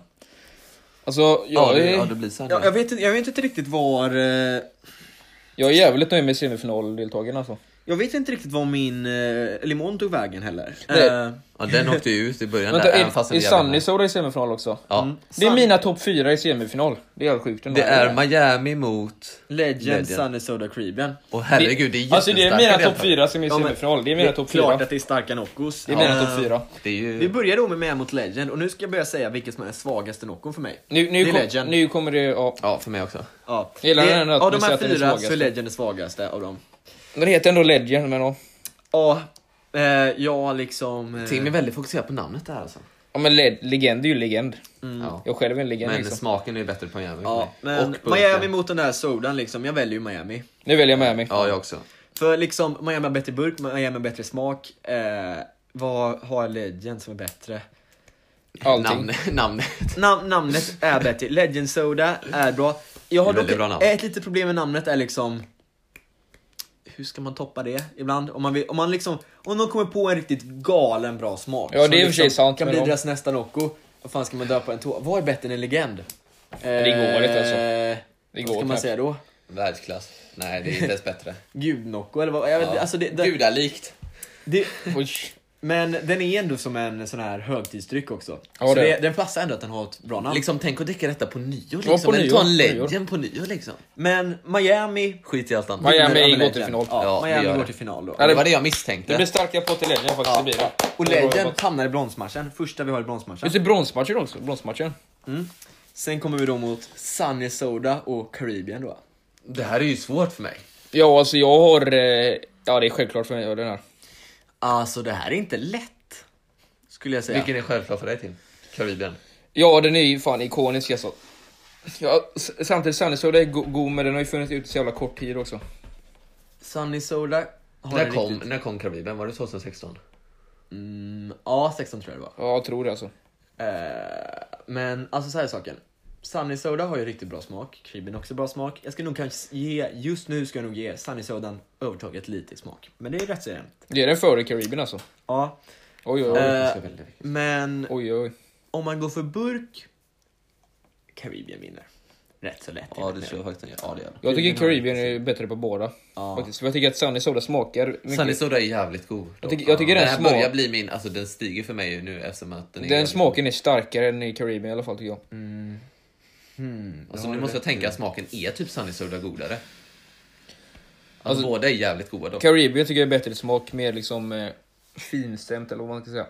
S1: Alltså jag,
S3: ja, det,
S1: är,
S3: ja, det blir så här.
S2: Ja, jag, vet, inte- jag vet inte riktigt var... eh,
S1: jag är jävligt nöjd med semifinaldeltagarna alltså.
S2: Jag vet inte riktigt var min eh, limon tog vägen heller.
S1: Nej.
S2: Eh,
S3: Ja, den åkte ju ut i början
S1: Vänta,
S3: där, även
S1: är,
S3: fast
S1: är
S3: det jävla-
S1: Sunny Soda i semifinal också?
S3: Ja.
S2: mm.
S1: Det är mina topp fyra i semifinal. Det är helt sjukt. ändå.
S3: Det är Miami mot...
S2: Legend,
S3: Legend.
S2: Sunny Soda Caribbean.
S3: Och herregud, det är
S1: Alltså det är
S3: jättestarka
S1: mina
S3: deltagare.
S1: topp fyra som är i
S2: Ja, men
S1: semifinal. Det är mina topp
S2: klart
S1: fyra.
S2: att det är starka Noccos.
S1: Det är mina
S2: Ja.
S1: topp fyra.
S3: Det är
S2: Vi
S3: ju...
S2: börjar då med Man mot Legend och nu ska jag börja säga vilket som är den svagaste Noccon för mig.
S1: Nu,
S2: Det
S1: nu,
S2: är
S1: kom,
S2: Legend.
S1: nu kommer det... Ja.
S3: Ja, för mig också.
S2: Ja.
S1: Gillar
S2: Det-
S1: den att
S2: av
S1: ni
S2: de
S1: säger
S2: här
S1: att den är
S2: fyra så
S1: svagaste?
S2: är Legend den svagaste av dem.
S1: Den heter ändå Legend, men ja.
S2: Ja, eh, jag liksom... Eh,
S3: Tim är väldigt fokuserad på namnet där alltså.
S1: ja men le legend är ju legend.
S3: Ja.
S1: Mm. Jag själv är en legend
S3: Men
S1: liksom.
S3: smaken är bättre på Miami. för
S2: Ja,
S3: mig.
S2: men
S3: på
S2: Miami
S3: burken.
S2: mot den där Sodan liksom, jag väljer ju Miami.
S1: Nu väljer jag Miami.
S3: Ja, jag också.
S2: För liksom, Miami har bättre burk, Miami har bättre smak. Eh, vad har Legend som är bättre?
S1: Allting.
S3: Namn, namnet.
S2: Nam namnet är bättre, Legend Soda är bra. Jag har
S3: Det är väldigt
S2: dock
S3: bra namn.
S2: ett litet problem med namnet är liksom hur ska man toppa det ibland? Om man, vill, om man liksom, om någon kommer på en riktigt galen bra smak.
S1: Ja,
S2: som
S1: det är i och för sig sant,
S2: Kan
S1: men
S2: bli
S1: om-
S2: deras nästa Nocco. Vad fan ska man döpa en tå? Vad är bättre än en legend? Eh,
S1: det går inte, alltså.
S2: Vad
S1: går
S2: ska man
S1: knappt.
S2: säga då?
S3: Världsklass. Nej, det är inte ens bättre.
S2: Gudnocco eller vad? Jag vet,
S3: Ja.
S2: alltså det, det,
S3: Gudalikt.
S2: det,
S1: Oj.
S2: men den är ändå som en sån här högtidsdryck också.
S1: Ja,
S2: så
S1: det
S2: det.
S1: är
S2: den passar ändå att den har ett bra namn.
S3: Liksom, tänk att dricka detta på nio liksom.
S1: på
S3: Eller
S1: nyår,
S3: ta
S1: på
S3: en
S1: nyår.
S3: legend på nio liksom.
S2: Men Miami...
S3: Skit i allt annat.
S1: Miami
S2: vinner över
S1: går till
S2: Legend.
S1: final.
S2: Ja,
S3: Ja, det gör
S2: Miami går
S3: det.
S2: till final då.
S1: Ja,
S3: Det var det jag misstänkte.
S1: Det blir starka på till Legend faktiskt, det blir det.
S2: Och
S1: Det var ju
S2: Legend
S1: gott.
S2: hamnar i bronsmatchen, första vi har i bronsmatchen.
S1: Just det, bronsmatchen också. Bronsmatchen.
S2: Sen kommer vi då mot Sunny Soda och Caribbean då.
S3: Det här är ju svårt för mig.
S1: Ja, alltså jag har... eh, Ja, det är självklart för mig. ja, Den här.
S2: Alltså det här är inte lätt. Skulle jag säga.
S3: Vilken är självklar för dig Tim? Karibien.
S1: Ja, den är ju fan ikonisk alltså. Ja, s- samtidigt Sunny Soda är go- god, men den har ju funnits ut så jävla kort tid också.
S2: Sunny Soda har
S3: När
S2: en
S3: kom,
S2: riktigt-
S3: när kom Karibien? Var det 2016?
S2: Mm, ja, 16 tror jag det var.
S1: Ja, jag tror det alltså.
S2: Eh, men alltså så här är saken. Sunny Soda har ju riktigt bra smak, Caribbean också bra smak. Jag ska nog kanske ge, just nu ska jag nog ge Sunny Sodan övertaget lite i smak. Men det är rätt så jämnt.
S1: Det är den före Karibien alltså.
S2: Ja,
S1: Oj, oj, oj.
S2: Eh.
S3: Det ska väldigt mycket.
S2: men
S1: oj, oj.
S2: om man går för burk, Caribbean vinner. Rätt så lätt.
S3: Ja, det tror jag faktiskt. Ja, det gör det.
S1: Jag tycker Caribbean är bättre på båda. Faktiskt. För jag tycker att Sunny Soda smakar mycket.
S3: Sunny Soda är jävligt god.
S1: Jag tycker- jag tycker den
S3: den här
S1: smak-
S3: börjar bli min, alltså den stiger för mig nu eftersom att den är
S1: Den
S3: jävligt
S1: smaken är starkare än i Caribbean i alla fall tycker jag.
S3: god. Alltså nu måste jag tänka att smaken är typ Sunny Soda godare. Alltså, båda är jävligt goda dock.
S1: Caribbean tycker jag är bättre smak, mer liksom eh, finstämt eller vad man ska säga.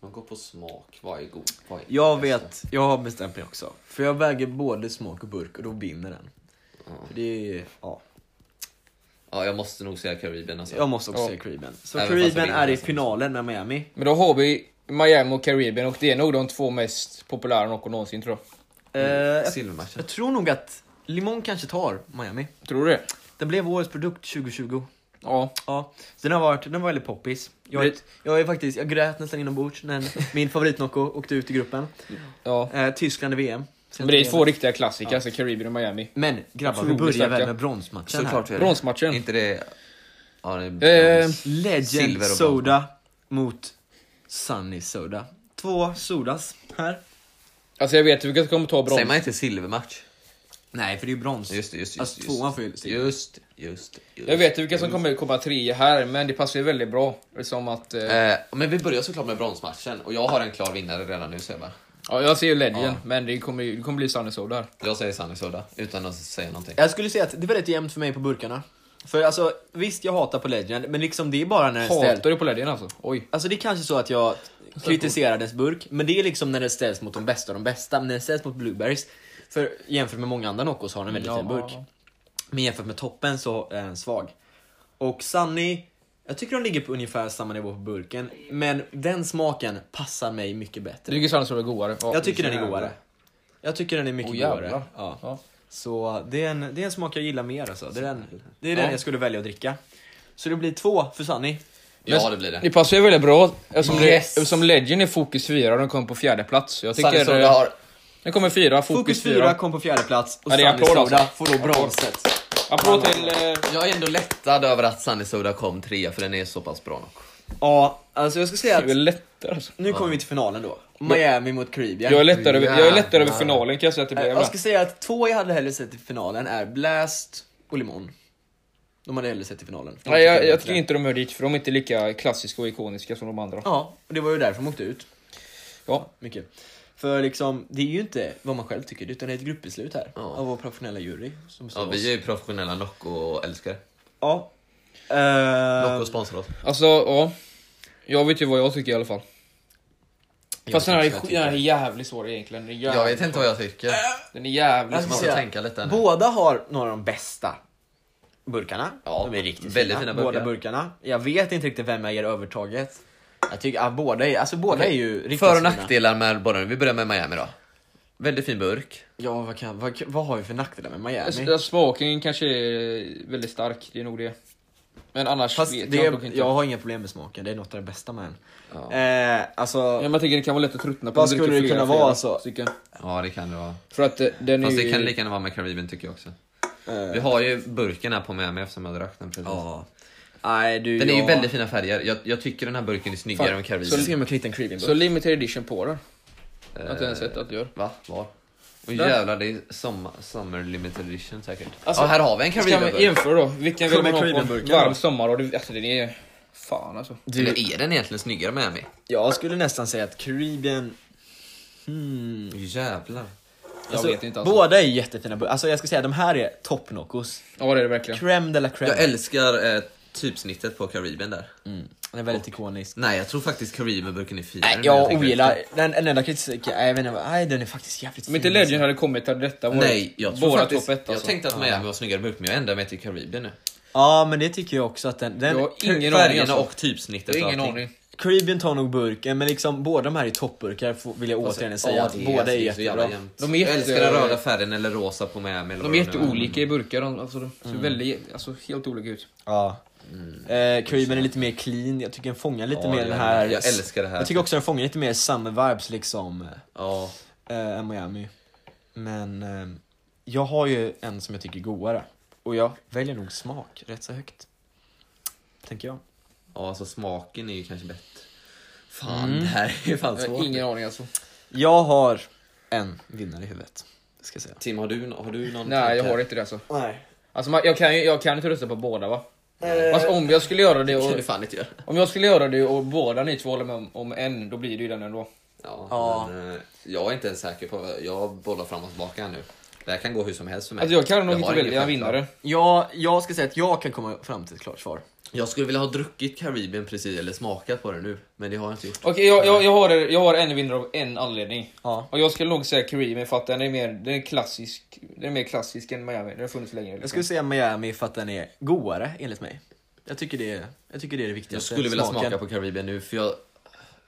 S3: Man går på smak, vad är god? Vad är
S2: Jag vet, jag har bestämt mig också. För jag väger både smak och burk och då vinner den. För det är, ja.
S3: Ja, jag måste nog säga Karibien alltså.
S2: Jag måste också
S1: Ja.
S2: säga Caribbean. Så
S3: Även fast jag
S2: Caribbean
S3: vinner
S2: är i
S3: den som-
S2: finalen med Miami.
S1: Men då har vi Miami och Caribbean och det är nog de två mest populära Nocco någonsin tror
S2: Eh,
S3: Silvermatchen.
S2: Jag tror nog att Limon kanske tar Miami.
S1: jag. Tror du det?
S2: Den blev årets produkt 2020.
S1: Ja.
S2: Ja, så den har varit, den var väldigt poppis. Jag,
S1: Det-
S2: jag är faktiskt, jag grät nästan inombords när <laughs> min favoritnocco åkte ut i gruppen.
S1: ja.
S2: Eh, Tyskland i VM.
S1: Men det är två riktiga klassiker, alltså Caribbean och Miami.
S2: Men grabbar, vi
S1: Otroligt
S2: börjar
S1: starka.
S2: väl med bronsmatchen
S3: Såklart vi är det.
S1: Bronsmatchen.
S3: Inte det... Ja, det
S1: Eh,
S3: brons.
S2: här. Legend
S3: Silver och
S2: Soda mot Sunny Soda. Två Sodas här.
S1: Alltså jag vet, vi kanske kommer ta brons.
S3: Säger man inte silvermatch?
S2: Nej, för det är ju brons.
S3: Just det, just det, just
S2: Alltså
S3: det,
S2: tvåan får ju
S3: just,
S2: silver.
S3: just, just, just.
S1: Jag vet vilka som kommer komma tre här, men det passar ju väldigt bra. Som att... Eh,
S3: Eh, men vi börjar såklart med bronsmatchen och jag har en klar vinnare redan nu Sebbe.
S1: ja, jag ser ju Legend, men det kommer, ju- det kommer bli Sunny Soda här.
S3: Jag säger Sunny Soda utan att säga någonting.
S2: Jag skulle säga att det är väldigt jämnt för mig på burkarna. För alltså, visst jag hatar på Legend, men liksom det är bara när den ställs...
S1: Hatar du på Legend alltså? Oj.
S2: Alltså det är kanske så att jag kritiserar dess burk, men det är liksom när den ställs mot de bästa av de bästa. Men när den ställs mot Blueberries, för jämfört med många andra Noccos har den en väldigt fin burk. Men jämfört med toppen så är den svag. Och Sunny, jag tycker de ligger på ungefär samma nivå på burken, men den smaken passar mig mycket
S1: Jag
S2: bättre.
S1: tycker Sunny Soda är godare. Ja,
S2: Jag tycker den är
S1: jävlar.
S2: godare. Jag tycker den är mycket
S1: Åh,
S2: godare.
S1: jävlar.
S2: Ja.
S1: Ja.
S2: Så det är, en, det är en smak jag gillar mer alltså. Det är den, det är den
S1: Ja.
S2: jag skulle välja att dricka. Så det blir två för Sunny.
S3: Ja det blir det.
S1: Det passar ju väldigt bra eftersom,
S3: Yes.
S1: det, eftersom Legend är fokus 4 och den kom på fjärde plats. Jag
S3: Sunny
S1: tycker...
S3: Soda
S1: eh,
S3: har...
S1: Den kommer fyra, fokus,
S2: Fokus 4
S1: fyra.
S2: kom på fjärde plats och
S1: Ja, det är
S2: Sunny
S1: applåd,
S2: Soda
S1: alltså.
S2: får då
S1: Applåd.
S2: bronset.
S1: Applåd till... Eh,
S3: Jag är ändå lättad över att Sunny Soda kom trea för den är så pass bra nog.
S2: Ja, alltså jag ska säga
S1: jag är
S2: att
S1: lättare alltså.
S2: nu kommer vi till finalen då. Miami mot Caribbean.
S1: Jag är lättare, över, jag är lättare över
S3: Jävlar.
S1: finalen kan jag säga att det
S2: Eh,
S1: blev.
S2: Jag ska säga att två jag hade hellre sett i finalen är Blast och Limon. De hade hellre sett i finalen. De
S1: Nej, jag,
S2: tycker
S1: jag
S2: det.
S1: tycker inte de hör dit, för de är inte lika klassiska och ikoniska som de andra.
S2: Ja, och det var ju därför de åkte ut.
S1: Ja.
S2: Mycket. För liksom, det är ju inte vad man själv tycker, utan det är ett gruppbeslut här. Av vår professionella jury. Som
S3: Ja,
S2: består av
S3: vi
S2: oss.
S3: är ju professionella Nocco-älskare.
S2: Ja.
S3: Nocco
S2: Eh,
S3: sponsrar oss.
S1: Alltså, ja. Jag vet ju vad jag tycker i alla fall. Fast den här, är,
S3: Jag
S1: sj-
S3: tycker-
S1: den här är jävligt svår egentligen. Den är
S3: Jag
S1: jävligt,
S3: vet inte vad jag tycker.
S1: den är jävligt
S2: Jag ska
S3: Man
S1: svår.
S3: får
S2: säga,
S3: Liksom, tänka lite. nu.
S2: båda har några av de bästa burkarna.
S3: Ja,
S2: de är riktigt
S3: väldigt
S2: fina.
S3: fina burkar.
S2: Båda burkarna. Jag vet inte riktigt vem jag ger övertaget. Jag tycker, ja, båda är, alltså båda är ju riktigt
S3: För och
S2: fina.
S3: nackdelar med båda. Vi börjar med Miami då. Väldigt fin burk.
S2: Ja, vad, kan, vad, vad har vi för nackdelar med Miami?
S1: S- Alltså, Smaken kanske är väldigt stark, det är nog det. Men annars
S2: Fast
S1: vet
S2: det,
S1: jag dock inte.
S2: jag
S1: Ja.
S2: har inga problem med smaken, det är något av det bästa med den. Eh, alltså,
S1: Men jag tänker det kan vara lätt att tröttna på
S2: Vad
S1: om du dricker
S2: skulle det kunna
S1: flera,
S2: vara alltså?
S1: flera
S2: så?
S1: stycken.
S3: Ja, det kan det vara.
S1: För att eh, den är
S3: Fast
S1: ju...
S3: det kan lika gärna vara med Caribbean tycker jag också.
S2: eh,
S3: Vi har ju burken här på Miami eftersom jag drack den precis.
S2: ja. Nej, du,
S3: Den är ju
S2: jag-
S3: väldigt fina färger. Jag, jag tycker den här burken är snyggare
S1: Fan,
S3: än
S2: Så
S3: Caribbean.
S2: ska man knyta en creepy
S1: Så limited edition på den. Jag har inte ens
S3: Eh,
S1: sett att du gör.
S3: Va? Var? Och
S1: Där.
S3: jävlar, det är sommar, summer limited edition säkert.
S1: Alltså,
S3: ja, här har vi en
S1: Ska
S3: Caribbean
S1: man
S3: burk.
S1: jämföra då? Vilken vill
S2: Kommer
S1: man ha på en
S2: Caribbean-burken
S1: varm
S2: då?
S1: sommar? Och det, alltså den är... Fan alltså.
S3: Eller är den egentligen snyggare än Miami?
S2: Jag skulle nästan säga att Caribbean... Hmm.
S3: Jävlar.
S1: Jag
S2: Alltså,
S1: vet inte alltså.
S2: Båda är jättefina burkar. Alltså jag ska säga, de här är toppnockos.
S1: Ja det är det verkligen.
S2: Crème de la crème.
S3: Jag älskar eh, typsnittet på Caribbean där.
S2: Mm. Den är väldigt ikonisk.
S3: Nej, jag tror faktiskt Caribbean-burken är finare.
S2: Nej,
S3: än
S2: jag
S3: tänker
S2: ogillar
S3: efter.
S2: den, den enda kritiken, nej, jag vet inte, vad- nej den är faktiskt jävligt
S1: Om inte
S2: fin, alltså.
S1: Legend hade kommit hade detta varit
S3: Nej, jag tror
S1: våra
S3: faktiskt...
S1: topp ett
S3: Jag
S1: alltså.
S3: tänkte att Miami var snyggare burk, men jag ändrar mig till Caribbean nu.
S2: Ja men det tycker jag också att den, den
S1: Jag har ingen aning
S3: Färgerna
S1: alltså.
S3: och typsnittet
S1: Jag har
S3: och
S1: ingen
S3: allting.
S1: aning.
S2: Caribbean tar nog burken men liksom båda de här är toppburkar får- vill jag återigen
S1: Alltså,
S2: säga
S3: Alltså, Ja,
S2: att
S3: det
S2: båda är
S3: det så jävla
S2: jättebra.
S3: jämnt.
S1: De är
S3: Jag
S1: jätte-
S3: älskar den röda färgen eller rosa på Miami.
S1: De
S3: eller vad
S1: är
S3: det nu
S1: jätteolika i burkar, de- alltså, de
S3: Mm.
S1: ser väldigt, alltså, helt olika ut.
S2: Ja. Eh, Caribbean är lite mer clean, jag tycker den fångar lite
S3: Ja,
S2: mer
S3: jag
S2: den här...
S3: vet. Jag älskar det här.
S2: Jag tycker också den fångar lite mer summer vibes liksom,
S3: Ja.
S2: eh, än Miami. Men eh, jag har ju en som jag tycker är godare. Och jag väljer nog smak rätt så högt. Tänker jag.
S3: ja, alltså smaken är ju kanske bättre. Fan, det här är ju fan
S1: Mm. Jag
S3: svårt.
S1: har ingen aning alltså.
S2: Jag har en vinnare i huvudet. Ska jag säga.
S3: Tim, har du, har du någon typ
S1: Nej, jag
S3: tanke?
S1: har inte det alltså.
S2: Nej.
S1: alltså man, jag, kan ju, jag kan inte rösta på båda va? Fast om jag skulle göra det
S3: Det kan <laughs>
S1: och,
S3: du fan inte göra.
S1: om jag skulle göra det och båda ni två håller med om, om en, då blir det ju den ändå.
S3: Ja,
S2: Ja.
S3: Men, eh, jag är inte ens säker på... Jag bollar fram och tillbaka här nu. Det här kan gå hur som helst för mig.
S1: Alltså jag kan nog
S3: har
S1: inte
S3: ingen
S1: välja en
S3: självklar-
S1: vinnare.
S2: Jag, jag ska säga att jag kan komma fram till ett klart svar.
S3: Jag skulle vilja ha druckit Caribbean precis, eller smakat på det nu. Men det har jag inte gjort.
S1: Okej, jag, jag, jag, har, jag har en vinnare av en anledning.
S2: Eh. Ja.
S1: Och jag skulle nog säga Caribbean för att den är mer, den är klassisk, den är mer klassisk än Miami, den har funnits längre.
S2: Jag skulle säga Miami för att den är godare enligt mig. Jag tycker det är, jag tycker det, är det
S3: Jag
S2: viktigaste.
S3: skulle vilja
S2: Smaken.
S3: smaka på Caribbean nu för jag...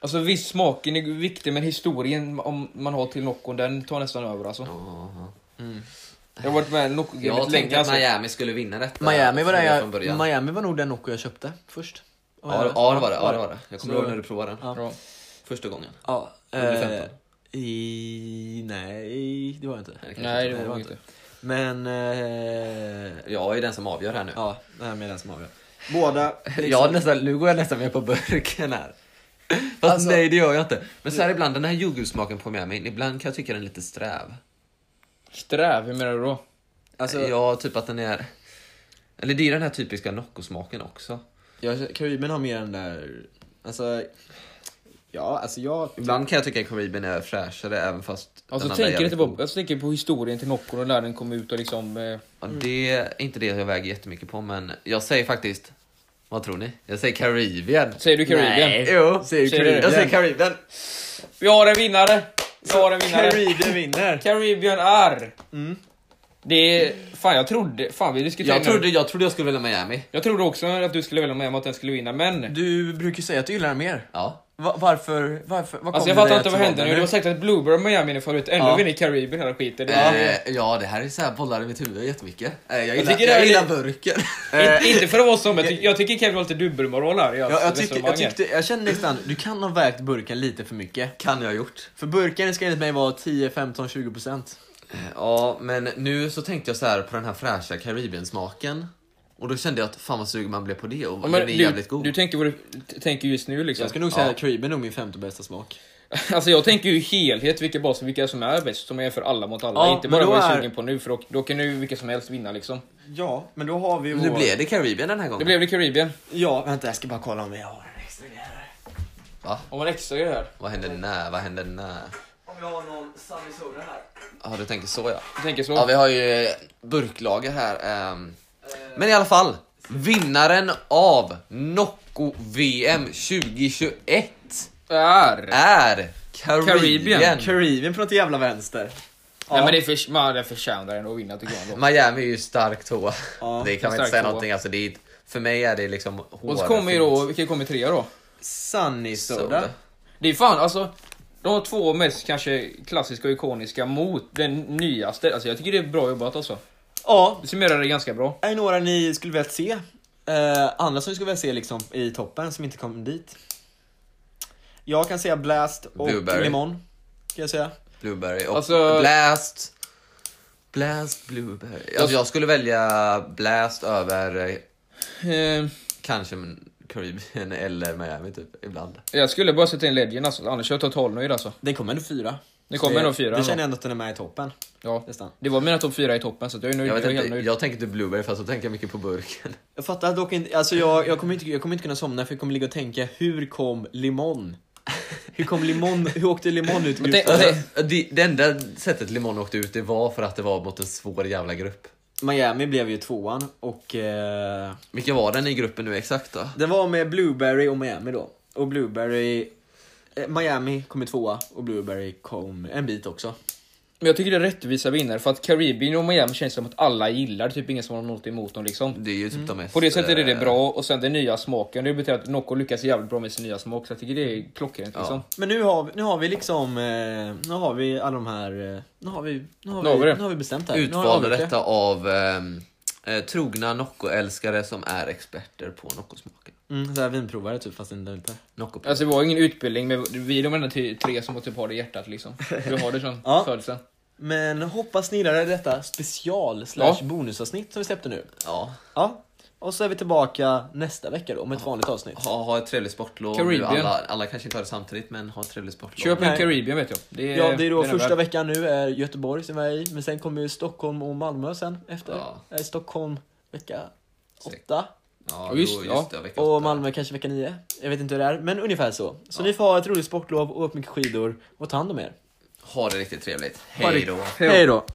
S1: Alltså visst, smaken är viktig men historien om man har till Noccon, den tar nästan över alltså.
S3: Jaha.
S1: Jag har varit med i
S3: Jag
S1: Nocco-gamet länge
S3: tänkte att
S1: alltså.
S3: Miami skulle vinna detta.
S2: Miami var, den
S3: från
S2: jag,
S3: början.
S2: Miami var nog den Nocco jag köpte först.
S3: Ja, det- ja, det var det. Ja, det, var det. Jag kommer
S2: Så-
S3: ihåg när du provade den.
S2: Ja.
S1: Bra.
S3: Första gången.
S2: Ja,
S3: Under
S2: eh,
S3: 15.
S2: i, nej, det var jag inte.
S3: Nej, det kanske
S1: Nej,
S3: inte.
S1: det var
S2: var
S1: det inte.
S2: Men, eh,
S3: Jag är den som avgör här nu.
S2: ja, det här med den som
S3: <laughs>
S2: avgör. Båda, liksom,
S3: Jag har nästan, nu går jag nästan med på burken här. Fast
S2: Alltså-
S3: nej, det gör jag inte. Men så här ibland, den här jordgubbssmaken på Miami, ibland kan jag tycka den är lite sträv.
S1: Sträv, hur menar du då?
S2: alltså,
S3: Ja, typ att den är... Eller det är den här typiska Nocco-smaken också.
S2: jag, Karibien har mer den där, alltså, ja, alltså jag...
S3: Ibland kan jag tycka att Caribbean är fräschare även fast...
S1: Alltså
S3: den andra är
S1: tänker inte
S3: jävligt
S1: på,
S3: god.
S1: jag tänker på historien till Noccon och när den kom ut och liksom... Eh,
S3: Ja, det är inte det jag väger jättemycket på, men jag säger faktiskt... Vad tror ni? Jag säger Caribbean.
S1: säger du Caribbean?
S2: Nej.
S3: Jo,
S2: Säger
S1: Säger
S2: du
S1: du
S2: Caribbean?
S3: jag säger Caribbean.
S1: Vi har en vinnare! Vi har en vinnare!
S2: Caribbean vinner!
S1: Caribbean är...
S2: Mm.
S1: Det är... Fan jag trodde... Fan vi diskuterade
S3: Jag trodde, jag trodde jag skulle välja Miami.
S1: jag trodde också att du skulle välja med att den skulle vinna men...
S2: Du brukar ju säga att du gillar den mer.
S3: Ja.
S2: Va- varför, varför, vad
S1: Alltså jag fattar
S2: kommer det
S1: inte vad
S2: till
S1: hände nu, det var säkert att Bluebird Miami nu förut, ändå
S2: Ja.
S1: vinner Caribbean hela skiten. Det var-
S3: Eh, ja, det här är så här bollar i mitt huvud jättemycket. Eh, jag gillar, jag
S1: tycker det är-
S3: gillar
S2: <laughs>
S3: burken.
S1: Inte- inte för att vara sån, men jag, ty- jag tycker Kevin har lite dubbelmoral här i
S2: Eh. Ja, jag,
S1: hans
S2: tyckte, jag,
S1: resonemang här.
S2: tyckte, jag kände nästan, du kan ha vägt burken lite för mycket.
S3: kan jag ha gjort.
S2: För burken ska enligt mig vara 10, 15, 20 procent.
S3: <laughs> Ja, men nu så tänkte jag så här på den här fräscha Caribbean-smaken. Och då kände jag att fan vad sugen man blev på det och
S1: Ja, men
S3: den är
S1: du,
S3: jävligt god.
S1: du tänker vad du t- tänker just nu liksom.
S2: Jag skulle nog säga att Caribbean är nog min femte bästa smak.
S1: Alltså jag tänker ju helhet, vilka baser, vilka som är bäst, som är för alla mot alla.
S2: Ja,
S1: inte
S2: men
S1: bara
S2: då
S1: vad jag är
S2: är-
S1: sugen på nu, för då, då kan ju vilka som helst vinna liksom.
S2: Ja, men då har vi vår...
S3: Nu blev det Caribbean den här gången.
S1: Det blev det Karibien.
S2: Ja, vänta jag ska bara kolla om jag har en extra grej här.
S1: Om man extra grej här.
S3: Vad händer när? Vad händer när?
S2: Om jag har någon Sunny Soda här.
S3: Ja, du tänker så ja.
S1: Jag tänker så.
S3: Ja, vi har ju eh, burklager här. ehm. Men i alla fall, vinnaren av Nocco-VM 2021
S1: Är.
S3: är Caribbean.
S1: Caribbean.
S2: Caribbean från något jävla vänster.
S1: Nej men det, är för, man, det förtjänar ändå att vinna tycker jag ändå.
S3: Miami är ju stark två.
S2: Ja,
S3: det kan
S1: stark
S3: man inte säga
S1: tvåa.
S3: någonting. Alltså, det är, för mig är det liksom
S1: Och så
S3: hårda
S1: kommer ju då,
S3: fint.
S1: vilka kommer trea då?
S2: Sunny
S3: Soda.
S2: Soda.
S1: Det är fan alltså, de två mest kanske klassiska och ikoniska mot den nyaste. Alltså jag tycker det är bra jobbat alltså.
S2: Ja,
S1: Det summerar det ganska bra.
S2: är det några ni skulle vilja se? Eh, andra som ni skulle vilja se liksom i toppen som inte kom dit? Jag kan säga Blast och
S3: Blueberry.
S2: Limon. Kan jag säga.
S3: Blueberry och
S1: Alltså-
S3: Blast. Blast Blueberry. Alltså, jag skulle välja Blast över eh,
S1: Eh,
S3: kanske men, Caribbean eller Miami typ ibland.
S1: jag skulle bara sätta in Legend alltså, annars är jag totalnöjd alltså.
S2: Den kommer ändå fyra.
S1: Det kommer
S2: Så
S1: ändå fyra
S2: Det
S1: ändå.
S2: känner jag ändå att den är med i toppen.
S1: Ja.
S2: Nästan.
S1: Det var mina topp fyra i toppen så att jag är nöjd.
S3: Jag,
S1: Jag,
S3: vet
S1: är helt
S3: inte,
S1: nöjd.
S3: jag tänker inte Blueberry fast så tänker jag mycket
S1: <laughs>
S3: på burken.
S2: Jag fattar dock inte, alltså jag, jag, kommer inte, jag kommer inte kunna somna för jag kommer ligga och tänka, hur kom Limon? Hur kom Limon, hur åkte Limon
S1: <laughs>
S2: ut?
S1: Men tänk-
S2: gruppen?
S3: Alltså, det, det enda sättet Limon åkte ut det var för att det var mot en svår jävla grupp.
S2: Miami blev ju tvåan och eh,
S3: Vilka var den i gruppen nu exakt då?
S2: det var med Blueberry och Miami då. Och Blueberry, eh, Miami kom i tvåa och Blueberry kom en bit också.
S1: Men jag tycker det är rättvisa vinnare för att Caribbean och Miami känns som att alla gillar, typ ingen som har något emot dem liksom.
S3: Det är ju typ de mest...
S1: På det sättet är det
S3: eh,
S1: bra och sen den nya smaken, det betyder att Nocco lyckas jävligt bra med sin nya smak så jag tycker det är klockrent liksom.
S2: Men nu har, vi- nu har vi liksom, eh, nu har vi alla de här, eh, nu har vi, nu har
S1: Nu har vi
S2: vi,
S1: det.
S2: nu har vi bestämt det här. Nu har vi
S3: Utvalde
S2: avgjort det.
S3: detta av ehm, eh, trogna Nocco-älskare som är experter på Nocco-smaken.
S2: Mm, så här vinprovare typ fast inte inte.
S3: Nocco
S1: Alltså det var ingen utbildning, men vi är de enda ty- tre som typ har det i hjärtat liksom. Vi har det från
S2: <laughs> Ja.
S1: födseln.
S2: Men hoppas ni gillade detta special slash
S1: Ja.
S2: bonusavsnitt som vi släppte nu.
S3: ja.
S2: Ja. Och så är vi tillbaka nästa vecka då med ett vanligt avsnitt.
S3: ha, ha ett trevligt sportlov. Nu,
S1: Caribbean.
S3: alla, alla kanske inte har det samtidigt men ha ett trevligt sportlov.
S1: Köp en
S2: Nej.
S1: Caribbean vet jag. Det är,
S2: Ja, det är då
S1: den
S2: första
S1: värd.
S2: veckan nu är Göteborg som vi är i, men sen kommer ju Stockholm och Malmö sen efter.
S3: Ja.
S2: Jag är i Stockholm vecka
S3: Sex.
S2: åtta
S3: Ja,
S1: Ja,
S3: då,
S1: just-
S3: just,
S1: ja.
S3: det, vecka åtta.
S2: och Malmö kanske vecka nio. Jag vet inte hur det är, men ungefär så. Så ni får ha ett roligt sportlov, åk mycket skidor och ta hand om er.
S3: Ha det riktigt trevligt.
S2: Ha det-
S3: Hej då.
S2: Hej då!